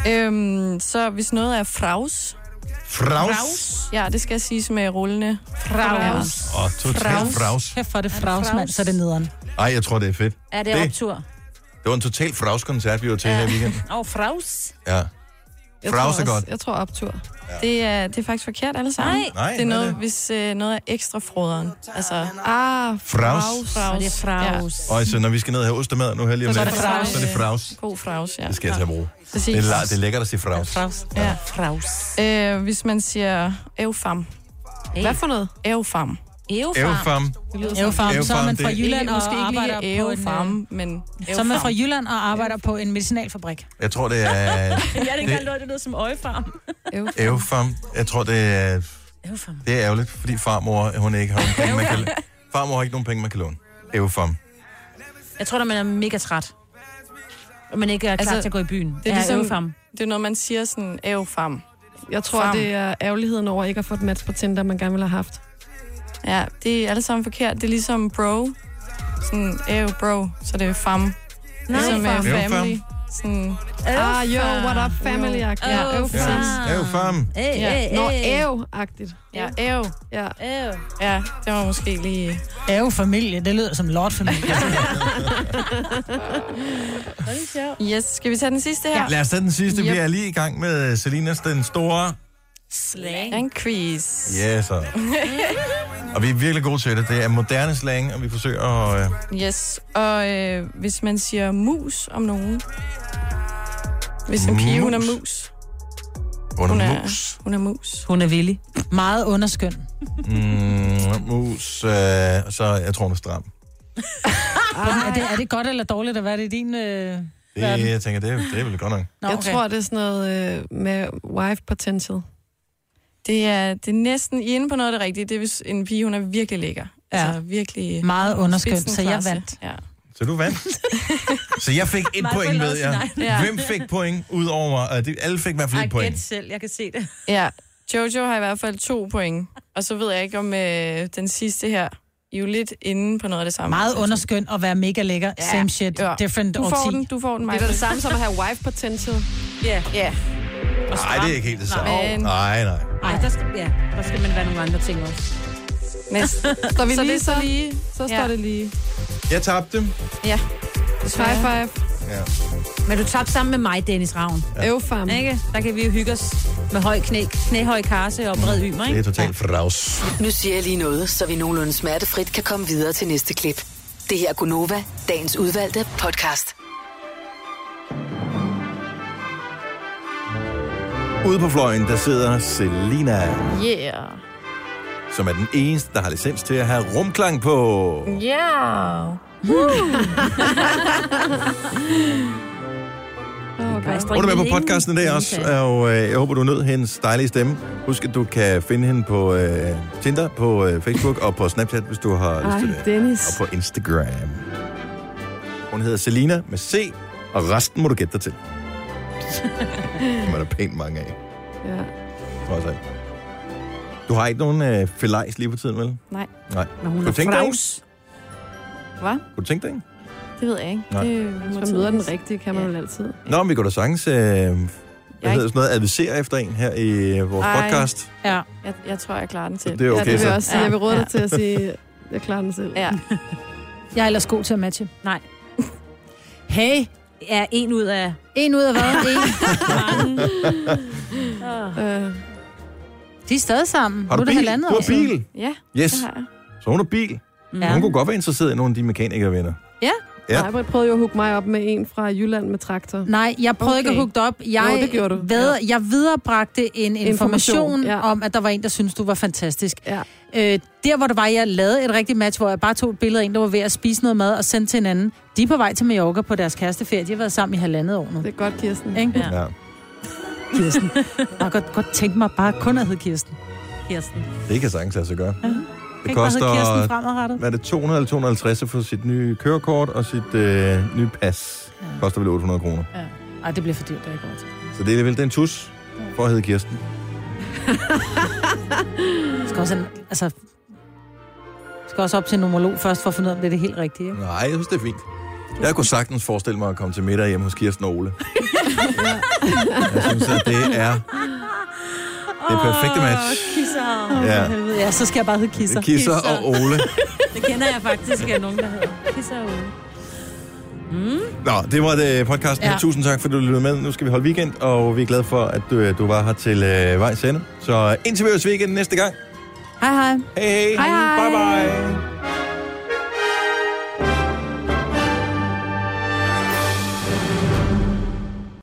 Speaker 12: Øhm, så hvis noget er fraus.
Speaker 2: Fraus?
Speaker 12: Ja, det skal siges med rullende. Fraus.
Speaker 2: Åh, oh, totalt fraus.
Speaker 5: Kæft for det fraus, mand. Så er det nederen.
Speaker 2: Ej, jeg tror, det er fedt.
Speaker 4: Er det,
Speaker 2: det,
Speaker 4: optur?
Speaker 2: det var en total fraus-koncert, vi var til her i weekenden.
Speaker 4: Åh, oh, fraus.
Speaker 2: Ja.
Speaker 12: Jeg tror
Speaker 2: Fraus er
Speaker 12: også-
Speaker 2: godt.
Speaker 12: Jeg tror optur. Det er, det er faktisk forkert alle sammen.
Speaker 2: Nej. Nej,
Speaker 12: det
Speaker 2: hvad
Speaker 12: er
Speaker 2: er
Speaker 12: noget,
Speaker 2: det?
Speaker 12: hvis øh, noget er ekstra froderen. Altså, ah,
Speaker 2: Fraus.
Speaker 12: fraus.
Speaker 4: Og det er fraus.
Speaker 2: Og så når vi skal ned og have ostemad nu her lige om
Speaker 12: Så er
Speaker 2: lidt,
Speaker 12: det fraus.
Speaker 2: så er det fraus.
Speaker 12: God fraus, ja.
Speaker 2: Det skal jeg tage at bruge.
Speaker 12: Præcis.
Speaker 2: Det er, la- det er lækkert at sige fraus.
Speaker 4: Fraus.
Speaker 12: Ja.
Speaker 4: Fraus.
Speaker 12: Øh, hvis man siger evfam. Hvad for noget? Evfam.
Speaker 2: Evfam.
Speaker 12: Det lyder som-
Speaker 5: Evfarm, så er man fra Jylland
Speaker 12: Ikke-
Speaker 5: og
Speaker 12: måske ikke lige
Speaker 5: arbejder på en... øh,
Speaker 12: Evfarm, men
Speaker 5: Så er man
Speaker 12: Evfarm.
Speaker 5: fra Jylland og arbejder på en medicinalfabrik.
Speaker 2: Jeg tror, det er...
Speaker 4: jeg
Speaker 2: det ikke
Speaker 4: det lyder som øjefarm.
Speaker 2: Evfam. Jeg tror, det er...
Speaker 4: Evfam.
Speaker 2: Det er ærgerligt, fordi farmor, hun ikke har nogen penge, man kan... Farmor har ikke nogen penge, man kan låne. Evfam.
Speaker 4: Jeg tror, at man er mega træt. Og man ikke er klar altså, til at gå i byen.
Speaker 12: Det er ligesom,
Speaker 4: øvefam.
Speaker 12: det er noget, man siger sådan, evfam.
Speaker 3: Jeg tror,
Speaker 12: Fam.
Speaker 3: det er ærgerligheden over ikke at få et match på Tinder, man gerne ville have haft.
Speaker 12: Ja, det er alle sammen forkert. Det er ligesom bro. Sådan, ev bro, så det er fam. Nej, ligesom øh,
Speaker 3: fam.
Speaker 12: family.
Speaker 2: Evfam.
Speaker 12: Sådan,
Speaker 3: Ah, yo, what up, family?
Speaker 12: Jo.
Speaker 3: Ja, evfam.
Speaker 2: Evfam.
Speaker 3: Ja. Nå, æv-agtigt.
Speaker 12: Ja, æv.
Speaker 3: Ja.
Speaker 4: Æv.
Speaker 12: Ja, det var måske lige...
Speaker 5: Æv familie, det lyder som lortfamilie.
Speaker 12: Yes, skal vi tage den sidste her?
Speaker 2: Lad os tage den sidste. Vi
Speaker 12: Yep.
Speaker 2: er lige i gang med Selinas den store.
Speaker 12: Slang. En quiz.
Speaker 2: Ja, så. Og vi er virkelig gode til det. Det er moderne slang, og vi forsøger at... Øh,
Speaker 12: Yes, og øh, hvis man siger mus om nogen. Hvis en pige, hun er
Speaker 2: Mus.
Speaker 12: mus.
Speaker 2: under
Speaker 12: Hun
Speaker 2: mus.
Speaker 12: er, hun er mus.
Speaker 5: Hun er villig. Meget underskøn.
Speaker 2: Mm, mus. Øh, så jeg tror, hun er stram.
Speaker 5: Er det, er det godt eller dårligt at være det i din... Øh...
Speaker 2: Det,
Speaker 5: Hvad er den?
Speaker 2: jeg tænker, det, er- det er vel godt nok.
Speaker 5: Nå,
Speaker 3: Jeg
Speaker 5: okay.
Speaker 3: tror, det er sådan noget øh, med wife potential.
Speaker 12: Det er, det er næsten, I er inde på noget af det rigtige. Det er, hvis en pige, hun er virkelig lækker. Ja. Altså virkelig...
Speaker 5: Meget underskøn,
Speaker 12: spidsen
Speaker 5: så jeg
Speaker 12: klasse.
Speaker 5: vandt.
Speaker 12: Ja.
Speaker 2: Så du vandt. så jeg fik et
Speaker 4: Mig
Speaker 2: point
Speaker 4: føler
Speaker 2: med
Speaker 4: også
Speaker 2: jer.
Speaker 4: sin egen.
Speaker 2: Hvem fik point ud over mig? Øh, de- Alle fik i hvert fald et
Speaker 4: Ej, gæt
Speaker 2: point.
Speaker 4: selv, jeg kan se det.
Speaker 12: ja, Jojo har i hvert fald to point. Og så ved jeg ikke om øh, den sidste her. I er jo lidt inde på noget af det samme. Altså,
Speaker 5: Meget underskøn og være mega lækker. Ja. Same shit, ja. different
Speaker 12: du får
Speaker 5: årti.
Speaker 12: den, du får den,
Speaker 3: Det er da det samme som at have wife potential.
Speaker 4: Ja.
Speaker 12: Ja.
Speaker 2: Nej, det er ikke helt det samme.
Speaker 12: Nej. Men-
Speaker 2: Nej, nej.
Speaker 4: Nej, der skal, ja, der skal man være nogle andre ting også.
Speaker 12: Næsten. Står vi
Speaker 3: Så
Speaker 12: lige
Speaker 3: det er
Speaker 12: så?
Speaker 3: så lige.
Speaker 12: Så står det lige.
Speaker 2: Jeg tabte.
Speaker 12: Ja. High five.
Speaker 2: Ja.
Speaker 4: Men du tabte sammen med mig, Dennis Ravn.
Speaker 2: Ja.
Speaker 3: Øvfarm.
Speaker 4: Ikke? Der kan vi jo hygge os med høj knæ, knæhøj karse og bred ymer,
Speaker 2: Det
Speaker 4: ikke?
Speaker 2: er totalt fraus.
Speaker 6: Nu siger jeg lige noget, så vi nogenlunde smertefrit kan komme videre til næste klip. Det her er Gunova, dagens udvalgte podcast.
Speaker 2: Ude på fløjen, der sidder Selina,
Speaker 13: Yeah.
Speaker 2: som er den eneste, der har licens til at have rumklang på.
Speaker 13: Yeah.
Speaker 2: Hun er med på podcasten i dag også, og øh, jeg håber, du nød hendes dejlige stemme. Husk, at du kan finde hende på øh, Tinder, på øh, Facebook og på Snapchat, hvis du har lyst til det.
Speaker 13: Dennis.
Speaker 2: På Instagram. Hun hedder Selina med C, og resten må du gætte dig til. Dem er der pænt mange af,
Speaker 12: Ja.
Speaker 2: trods alt. Du har ikke nogen øh, felajs lige på tiden, vel?
Speaker 12: Nej.
Speaker 2: Nej.
Speaker 12: Men hun
Speaker 2: Kunne
Speaker 12: er
Speaker 2: du tænke dig en?
Speaker 12: fraus. Hvad?
Speaker 2: Kunne du tænke dig en?
Speaker 12: Det ved jeg ikke.
Speaker 2: Nej.
Speaker 12: Det, Hvis man møder den rigtige, kan man ja. vel altid.
Speaker 2: Nå, men vi går da sagtens... Øh, hvad hedder sådan noget? Advisere efter en her i øh, vores
Speaker 12: Ej.
Speaker 2: podcast.
Speaker 12: Ja. Jeg, jeg tror, jeg klarer den selv.
Speaker 2: Det er okay,
Speaker 12: ja, det vil
Speaker 2: så.
Speaker 12: jeg også sige.
Speaker 13: Ja.
Speaker 12: Jeg vil råde dig
Speaker 13: Ja.
Speaker 12: til at sige, jeg klarer den selv. Ja.
Speaker 5: Jeg er ellers god til at matche.
Speaker 4: Nej.
Speaker 5: Hey.
Speaker 4: Ja, en ud af...
Speaker 5: En ud af hvad? En.
Speaker 12: øh.
Speaker 5: De er stadig sammen.
Speaker 2: Har du
Speaker 5: nu er det
Speaker 2: bil?
Speaker 5: halvandet
Speaker 2: Du har
Speaker 5: år siden.
Speaker 2: bil?
Speaker 12: Ja,
Speaker 2: Yes. Så hun er bil. Ja. Hun kunne godt være interesseret i nogle af de mekanikervenner.
Speaker 12: Ja.
Speaker 2: Ja.
Speaker 12: ja. Nej, prøvede jo at hugge mig op med en fra Jylland med traktor.
Speaker 5: Nej, jeg prøvede okay. ikke at hugge dig op. Jeg,
Speaker 12: jo, det gjorde du.
Speaker 5: Ved, jeg viderebragte en information,
Speaker 12: Information,
Speaker 5: information
Speaker 12: ja.
Speaker 5: ja. om, at der var en, der syntes, du var fantastisk.
Speaker 12: Ja.
Speaker 5: Øh, der, hvor det var, jeg lavede et rigtigt match, hvor jeg bare tog et billede af en, der var ved at spise noget mad og sendte til en anden. De er på vej til Mallorca på deres kæresteferie. De har været sammen i halvandet år nu. Det
Speaker 12: er godt, Kirsten.
Speaker 5: Ikke?
Speaker 4: Ja.
Speaker 2: Ja.
Speaker 5: Kirsten. Jeg har godt, godt tænkt mig bare kun at hedde Kirsten.
Speaker 4: Kirsten.
Speaker 2: Det kan sagtens lade sig gøre. Ja. Det
Speaker 5: ikke bare hedde
Speaker 2: koster,
Speaker 5: Kirsten fremadrettet?
Speaker 2: hvad er det, 200 eller 250 for sit nye kørekort og sit øh, nye pas. Ja. Koster vel 800 kroner.
Speaker 5: Ja. Ej, det bliver for dyrt, det er ikke godt.
Speaker 2: Så det er vel den tus for at hedde Kirsten.
Speaker 5: Jeg skal også, en- altså, jeg skal også op til en nomolog først for at finde ud af, om det er det helt rigtige. Ikke?
Speaker 2: Nej, jeg synes, det er fint. Jeg kunne sagtens forestille mig at komme til middag hjemme hos Kirsten og Ole. Jeg synes, at det er det perfekte match.
Speaker 4: Kisser.
Speaker 2: Ja.
Speaker 5: Ja. ja, så skal jeg bare hedde Kisser.
Speaker 2: Kisser og Ole.
Speaker 4: Det kender jeg faktisk af nogen, der hedder. Kisser og Ole.
Speaker 2: Nå, det var det podcasten. Ja.
Speaker 4: Ja.
Speaker 2: Tusind tak, fordi du lyttede med. Nu skal vi holde weekend, og vi er glade for, at du, du var her til øh, vejs ende. Så indtil vi høres weekend næste gang.
Speaker 5: Hej hej.
Speaker 2: Hej hej.
Speaker 5: Hej hej.
Speaker 2: Bye bye.